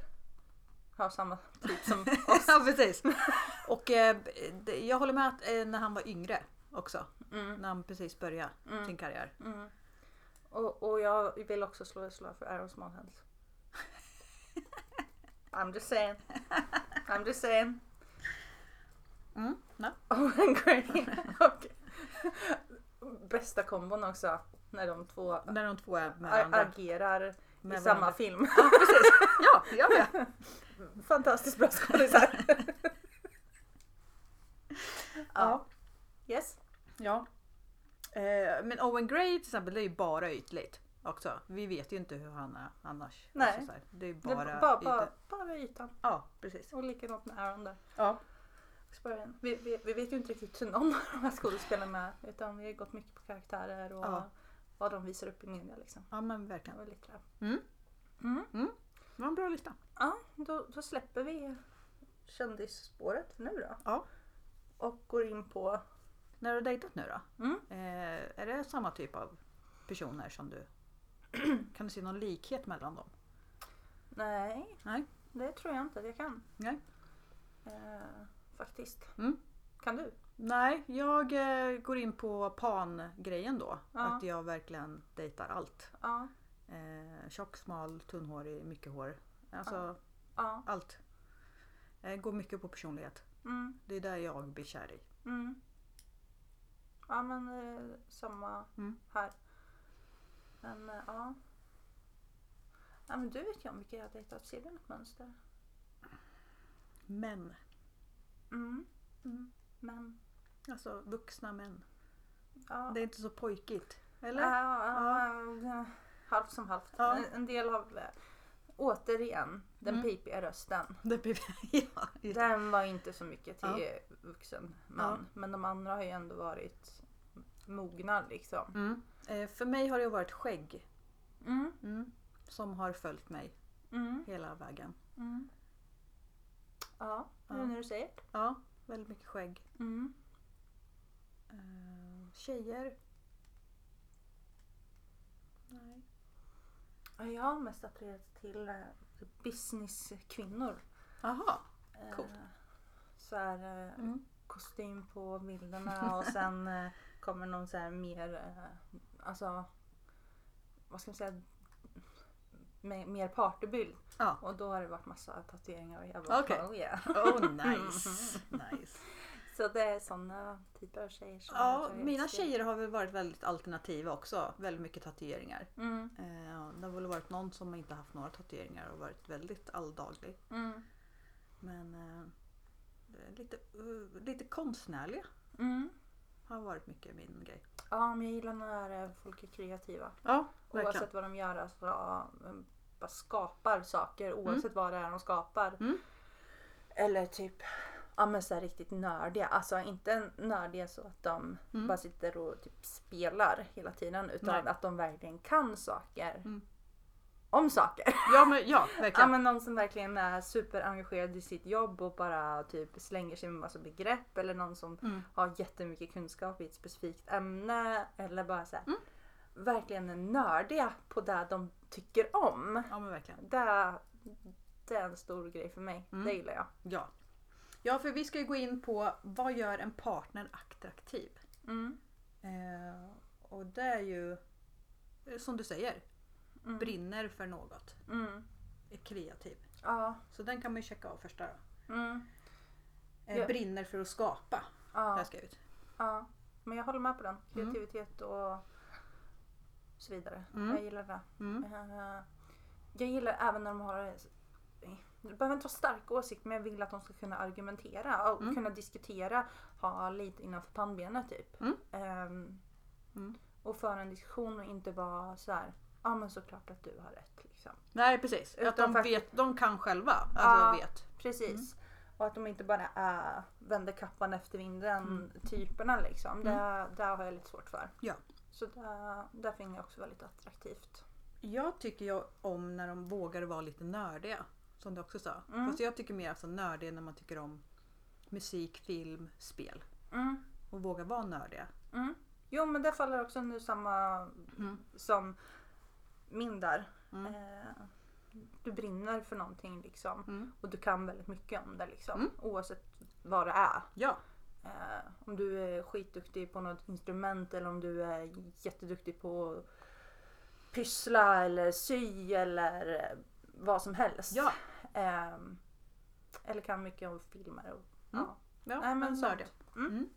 har samma typ som
ja, precis. Och eh, det- jag håller med att eh, när han var yngre också.
Mm.
När han precis började sin karriär.
Mm. Och, och jag vill också slå ett slag för Aaron Smallhands. I'm just saying. I'm just saying. Oh
Mm. Ja.
Owen Gray och bästa kombon också när de två a-
När de två är med varandra.
agerar i
Med
samma
varandra.
film.
Ja, jag med.
Fantastiskt bra skådisar.
Ja.
ja. Yes.
Ja. Eh, men Owen Gray till exempel, det är ju bara ytligt också. Vi vet ju inte hur han är annars.
Nej.
Alltså så här, det är bara,
bara, bara, bara,
ytligt.
bara ytan.
Ja, precis.
Och likadant med Aaron där.
Ja.
Spören. Vi, vi, vi vet ju inte riktigt hur någon av de här skådespelarna är utan vi har gått mycket på karaktärer och
Ja.
vad de visar upp i media liksom.
ja, men
Det
verkligen.
var lite där.
Det var en bra lista.
Ja, då, då släpper vi kändisspåret för nu då.
Ja.
Och går in på...
När du har dejtat nu då?
Mm.
Eh, är det samma typ av personer som du... kan du se någon likhet mellan dem?
Nej,
Nej.
det tror jag inte att jag kan.
Nej.
Eh, faktiskt.
Mm.
Kan du?
Nej, jag eh, går in på pan-grejen då.
Ja.
Att jag verkligen dejtar allt.
Ja.
Eh, tjock, smal, tunnhårig, mycket hår. Alltså
Ja.
allt. Eh, går mycket på personlighet.
Mm.
Det är där jag blir kär i.
Mm. Ja men eh, samma
Mm.
här. Men eh, ja. ja men du vet ju om vilka jag har dejtat. Ser du något mönster?
Män.
Mm.
Mm.
Men
Alltså vuxna män.
ja.
Det är inte så pojkigt. Eller?
Ja, ja, ja. Halvt som halvt.
Ja.
En- En del av, eh, återigen, den
Mm.
pipiga rösten.
Det blir... ja, just det.
Den var inte så mycket till
Ja.
eh, vuxen man. Men de andra har ju ändå varit mogna liksom.
Mm. Eh, för mig har det varit skägg
Mm.
som har följt mig
Mm.
hela vägen.
Mm. Ja, nu
Ja.
när du säger.
Ja, väldigt mycket skägg.
Mm.
Eh, tjejer? Nej.
Ja, Jag har mest appellerat till eh, businesskvinnor.
Jaha.
Eh,
Coolt.
Så här, eh,
Mm.
kostym på bilderna och sen eh, kommer någon så här mer, eh, alltså, vad ska man säga, me- mer partybild.
Ja.
Och då har det varit massa tatueringar och jag bara
Okej.
oh yeah.
Oh nice. nice.
Så det är sådana typer av tjejer som jag
Ja,
tror jag
mina
ser.
tjejer har väl varit väldigt alternativa också. Väldigt mycket tatueringar.
Mm,
Eh, det har väl varit någon som inte haft några tatueringar och varit väldigt alldaglig.
mm,
Men eh, det är lite, eh, lite konstnärliga
mm.
har varit mycket min grej.
Ja, men jag gillar när eh, folk är kreativa.
Ja,
Oavsett vad de gör, alltså, ja, de bara skapar saker oavsett vad det är de skapar.
Mm.
Eller typ ja, men så här riktigt nördiga. Alltså inte nördiga så att de
Mm.
bara sitter och typ spelar hela tiden utan
Nej.
att de verkligen kan saker.
Mm.
Om saker.
Ja, men, ja
Ja
verkligen.
men någon som verkligen är superengagerad i sitt jobb och bara typ slänger sig med massa begrepp eller någon som
Mm.
har jättemycket kunskap i ett specifikt ämne eller bara så här,
Mm.
verkligen är nördiga på det de tycker om.
Ja, men verkligen.
Det, det är en stor grej för mig.
Mm.
Det gillar jag.
Ja. ja, för vi ska ju gå in på vad gör en partner attraktiv?
Mm.
Eh, och det är ju eh, som du säger, brinner för något,
Mm.
är kreativ.
Ja.
Så den kan man ju checka av första då.
Mm.
Eh,
Ja.
Brinner för att skapa, har
Ja.
jag skrivit.
ja. Men jag håller med på den. Kreativitet och så vidare.
Mm.
Jag gillar det.
Mm.
Eh, Jag gillar även när de har det behöver inte vara starka åsikter men jag vill att de ska kunna argumentera och
Mm.
kunna diskutera. Ha lite innanför pannbenet typ.
Mm.
Ehm,
Mm.
Och föra en diskussion och inte vara så här. Ja men såklart att du har rätt liksom.
Nej precis,
Utan
att de,
faktiskt-
vet, de kan själva. Alltså
Ja.
vet.
Precis.
Mm.
Och att de inte bara äh, vänder kappan efter vinden typerna liksom. Det, det har jag lite svårt för.
Mm. Ja.
Så det, det finner jag också väldigt attraktivt.
Jag tycker ju om när de vågar vara lite nördiga. Som du också sa.
Mm.
Fast jag tycker mer alltså nördiga när man tycker om musik, film, spel.
Mm.
Och våga vara nördiga.
Mm. Jo men det faller också under samma
Mm.
som min där.
Mm.
Eh, du brinner för någonting liksom.
Mm.
Och du kan väldigt mycket om det liksom.
Mm.
Oavsett vad det är.
Ja.
Eh, om du är skitduktig på något instrument eller om du är jätteduktig på att pyssla eller sy eller eh, vad som helst.
Ja.
Ehm, eller kan mycket om filmer. Och,
Mm.
ja.
ja
Nej, men sånt.
nördiga.
Mm.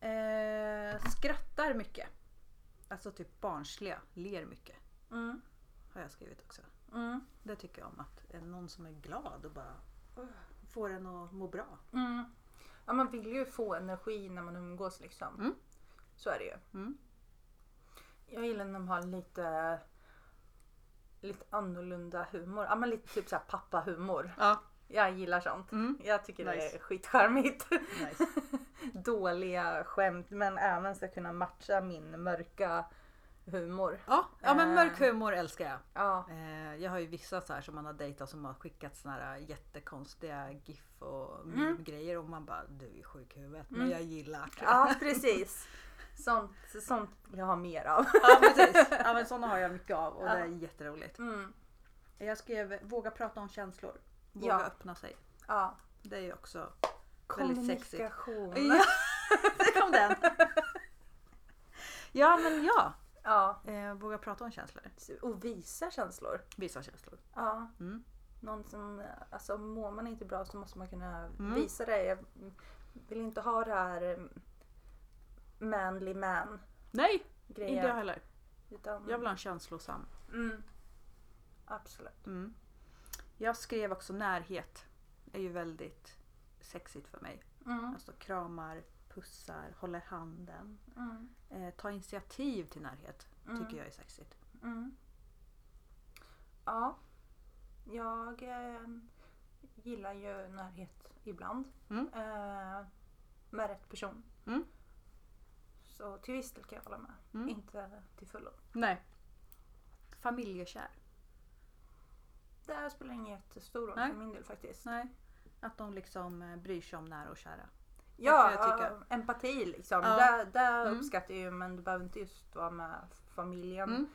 Mm. Eh, skrattar mycket. Alltså typ barnsliga. Ler mycket.
Mm,
Har jag skrivit också.
mm,
Det tycker jag om. Att eh, någon som är glad och bara "Åh", får en att må bra.
mm. Ja, man vill ju få energi när man umgås liksom.
Mm.
Så är det ju.
Mm.
Jag gillar när de har lite lite annorlunda humor. Ja men lite typ såhär pappahumor.
Ja.
Jag gillar sånt.
Mm.
Jag tycker det
Nice.
är skitcharmigt.
Nice.
Dåliga skämt men även ska kunna matcha min mörka humor.
Ja, ja men
Eh.
mörk humor älskar jag.
Ja.
Eh, jag har ju vissa så här som man har dejtat som har skickat såna här jättekonstiga GIF och
Mm.
meme-grejer och man bara du är sjuk i huvudet men
Mm.
jag gillar det.
Ja precis. Sånt, sånt vill jag ha mer av.
ja precis, ja, men sådana har jag mycket av och
Ja.
det är jätteroligt.
Mm.
Jag skrev våga prata om känslor, våga
Ja.
öppna sig.
Ja.
Det är ju också... Väldigt sexigt.
Kommunikation.
Ja, där kom den! Ja men ja,
Ja.
eh, våga prata om känslor,
Och visa känslor.
visa känslor.
Ja.
Mm.
Någon som, alltså mår man inte bra så måste man kunna
Mm.
visa det. Jag vill inte ha det här mm, manly man
Nej, inte jag
grejen.
heller.
Utan,
Jag vill ha en känslosam.
mm, absolut.
Mm. Jag skrev också närhet. Det är ju väldigt sexigt för mig.
Mm,
Alltså kramar, pussar, håller handen.
mm,
Eh, ta initiativ till närhet.
Mm.
Tycker jag är sexigt.
mm. Ja, jag eh, gillar ju närhet ibland.
Mm.
Eh, med rätt person.
Mm.
Så till viss del kan jag hålla med.
Mm.
Inte till fullo.
Nej. Familjekär.
Det här spelar ingen jättestor roll
Nej.
för min del faktiskt.
Nej. Att de liksom eh, bryr sig om nära och kära.
Ja,
Det kan jag tycka.
empati liksom.
Ja.
Det, det
Mm.
uppskattar jag ju men det behöver inte just vara med familjen.
Mm.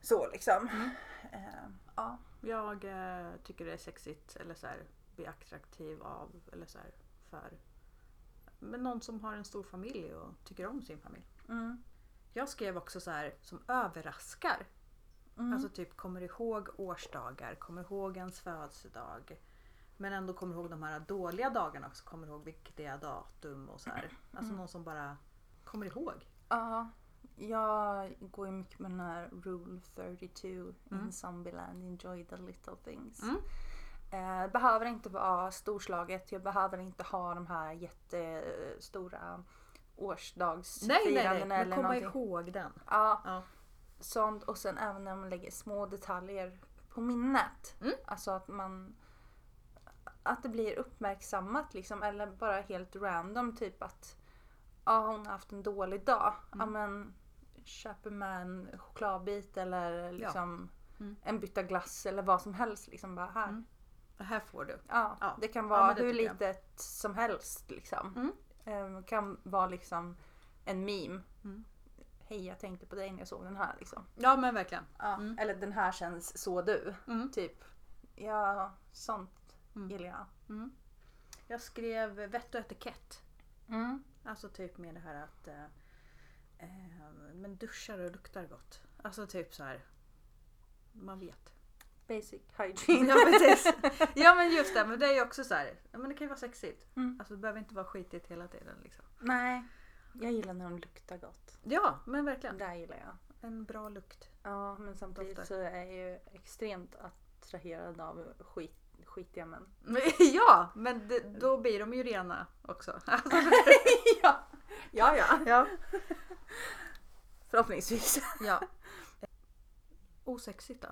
Så liksom. Eh, ja.
Jag eh, tycker det är sexigt eller så här, bli attraktiv av eller så här, för men någon som har en stor familj och tycker om sin familj.
Mm.
Jag skrev också så här som överraskar.
Mm.
Alltså typ kommer ihåg årsdagar, kommer ihåg ens födelsedag. Men ändå kommer ihåg de här dåliga dagarna också, kommer ihåg viktiga datum och så här. Alltså
Mm.
någon som bara kommer ihåg.
ja. Jag går ju mycket med den här Rule 32
Mm.
in Zombieland, enjoy the little things.
Mm.
Eh, behöver inte vara storslaget, jag behöver inte ha de här jättestora årsdagsfirandena
Nej, nej, nej,
eller
men komma
någonting.
ihåg den.
Ja.
Ja.
Sånt och sen även när man lägger små detaljer på minnet.
Mm.
Alltså att man att det blir uppmärksammat liksom eller bara helt random typ att ja hon har haft en dålig dag. Ja
Mm.
men köper med en chokladbit eller liksom
Mm.
en bytta glass eller vad som helst liksom bara här.
Mm. Det här får du.
Ja,
Ja.
det kan
Ja,
vara
men det
hur
tycker jag.
litet som helst liksom.
Mm.
Ehm, kan vara liksom en meme.
Mm.
Hej jag tänkte på dig när jag såg den här liksom.
Ja men verkligen.
Ja,
Mm.
Eller den här känns så du.
Mm.
Typ. Ja, sånt
Mm.
gillar jag.
Jag skrev vett och etikett.
Mm.
Alltså typ med det här att eh, eh, men duschar och luktar gott. Alltså typ så här. Man vet.
Basic hygiene.
Ja precis. ja men just det, men det är ju också så här. Ja, men det kan ju vara sexigt.
Mm.
Alltså det behöver inte vara skitigt hela tiden liksom.
Nej, jag gillar när de luktar gott.
Ja men verkligen.
Där gillar jag.
En bra lukt.
Ja, men samtidigt
Doftar.
så är jag ju extremt attraherad av skit, skitiga män.
Men, ja men det, då blir de ju rena också. Alltså,
ja, ja, ja.
ja.
Förhoppningsvis.
ja. Osexigt då?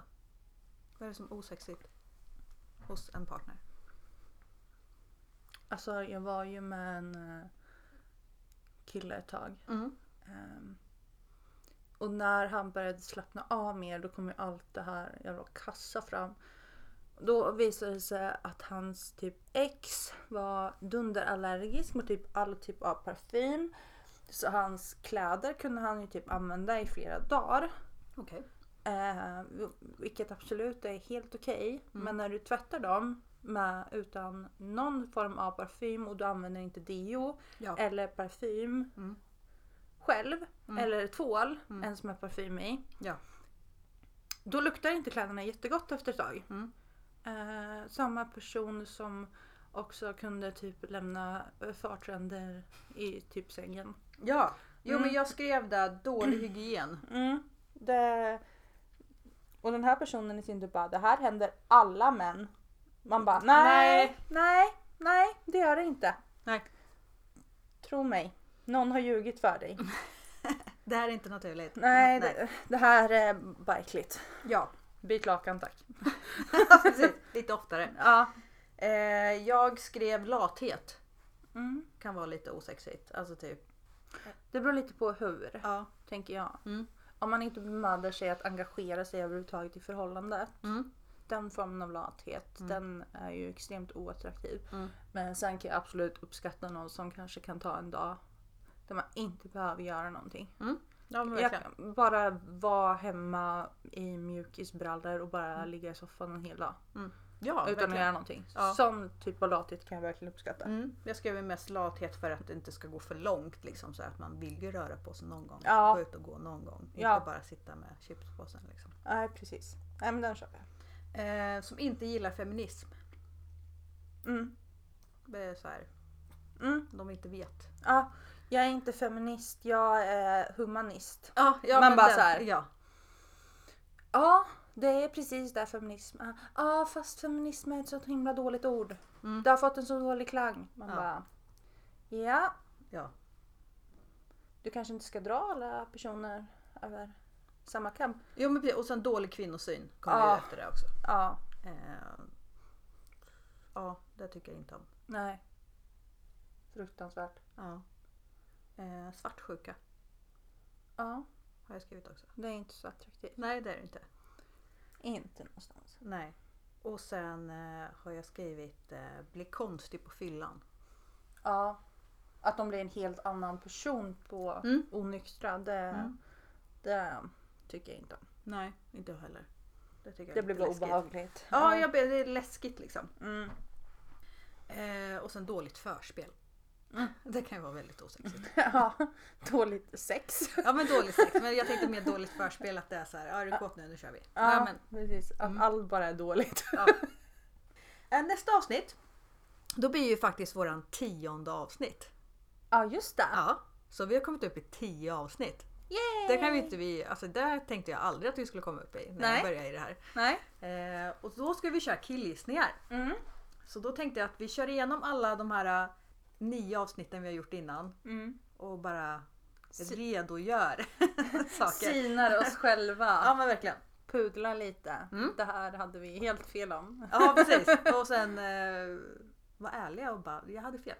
Vad är det som är osexigt? Hos en partner?
Alltså, jag var ju med en eh, kille ett tag.
Mm.
Ehm, och när han började slappna av mer då kom ju allt det här jävla kassa fram. Då visade det sig att hans typ ex var dunderallergisk mot typ all typ av parfym. Så hans kläder kunde han ju typ använda i flera dagar.
Okej.
Eh, vilket absolut är helt okej.
Mm.
Men när du tvättar dem med, utan någon form av parfym och du använder inte deo
Ja.
eller parfym
Mm.
själv eller tvål,
Mm.
en som är parfym i.
Ja.
Då luktar inte kläderna jättegott efter ett tag.
Mm.
Eh, samma person som också kunde typ lämna eh, fartränder i typ sängen.
Ja, jo
Mm.
men jag skrev där dålig hygien.
Mm. Det... Och den här personen i sin tur bara, det här händer alla män. Man bara, nej,
Nej.
nej, nej, det gör det inte.
Nej,
Tro mig, någon har ljugit för dig.
det här är inte naturligt.
Nej, Det, det här är bara äckligt.
Ja,
Byt lakan tack.
precis. Lite oftare.
Ja.
Eh, jag skrev lathet.
Mm.
Kan vara lite osexigt. Alltså typ.
Det beror lite på hur,
Ja.
tänker jag.
Mm.
Om man inte bemödar sig att engagera sig överhuvudtaget i förhållandet.
Mm.
Den formen av lathet, den är ju extremt oattraktiv.
Mm.
Men sen kan jag absolut uppskatta någon som kanske kan ta en dag där man inte behöver göra någonting.
Ja men
Jag
verkligen.
kan bara vara hemma i mjukisbrallor och bara ligga i soffan en hel dag.
Mm. Ja,
utan att
verkligen.
göra någonting.
Ja.
Sån typ av lathet kan jag verkligen uppskatta.
Mm. Jag skrev ju mest lathet för att det inte ska gå för långt. Liksom, så att man vill ju röra på sig någon gång.
Ja.
Gå ut och gå någon gång.
Ja.
Inte bara sitta med chipspåsen. Liksom.
Nej precis. Nej men den köper jag.
Eh, som inte gillar feminism.
Mm.
Det är så här,
Mm.
de inte vet.
Ja, Jag är inte feminist, jag är humanist.
Ja, ja,
Man
men
bara
den-
så här, ja.
Ja, det är precis där feminism är. Ja, fast feminism är ett så himla dåligt ord.
Mm.
Det har fått en så dålig klang. Man
Ja.
bara... Ja,
ja.
du kanske inte ska dra alla personer över samma kam.
Jo, men precis. Och sen dålig kvinnosyn kommer
Ja.
ju efter det också.
Ja,
Eh, ja, det tycker jag inte om.
nej. Fruktansvärt.
Ja. Eh, svartsjuka
Ja,
har jag skrivit också.
det är inte så attraktivt.
Nej, det är det inte.
Inte någonstans.
Nej. Och sen eh, har jag skrivit eh, bli konstig på fyllan.
Ja. Att de blir en helt annan person på
Mm.
onyktra, det,
Mm.
det tycker jag inte om.
Nej, inte jag heller. Det, tycker jag
Det
är
blir
lite
bara
läskigt.
obehagligt.
Ja, jag, ber- det är läskigt liksom.
Mm.
Eh, och sen dåligt förspel. Det kan ju vara väldigt osexigt.
ja, dåligt sex.
Ja men dåligt sex. Men jag tänkte mer dåligt förspel att det är så här, ja är du kåt nu, nu kör vi.
Ja,
Ja, men,
precis. Att allt bara är dåligt.
ja. Eh, Nästa avsnitt. Då blir ju faktiskt våran tionde avsnitt.
Ja, just det.
Ja. Så vi har kommit upp i tio avsnitt.
Yay!
Det kan vi inte vi, alltså där tänkte jag aldrig att vi skulle komma upp i när
Nej.
jag började i det här.
Nej.
Eh, och då ska vi köra killgissningar.
Mm.
Så då tänkte jag att vi kör igenom alla de här eh, nio avsnitten vi har gjort innan
Mm.
och bara
Si-
redogör saker.
Sinar oss själva.
Ja men verkligen.
Pudla lite.
Mm.
Det här hade vi helt fel om.
Ja precis. Och sen eh, var ärliga och bara, jag hade fel.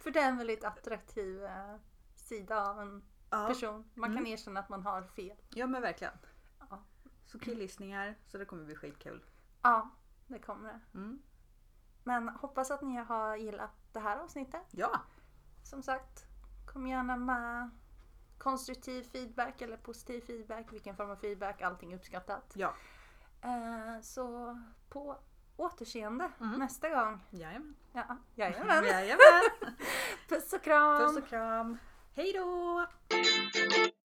För det är en väldigt attraktiv eh, sida av en
Ja,
person. Man kan erkänna att man har fel.
ja men verkligen.
Ja.
Så killgissningar, så det kommer bli skitkul.
Ja, det kommer det.
Mm.
Men hoppas att ni har gillat det här avsnittet.
Ja,
Som sagt, kom gärna med konstruktiv feedback eller positiv feedback. Vilken form av feedback, allting uppskattat.
ja.
Eh, så på återseende
Mm.
nästa gång.
Jajamän.
Ja, jajamän.
Jajamän.
Puss och kram!
Puss och kram. Hej då!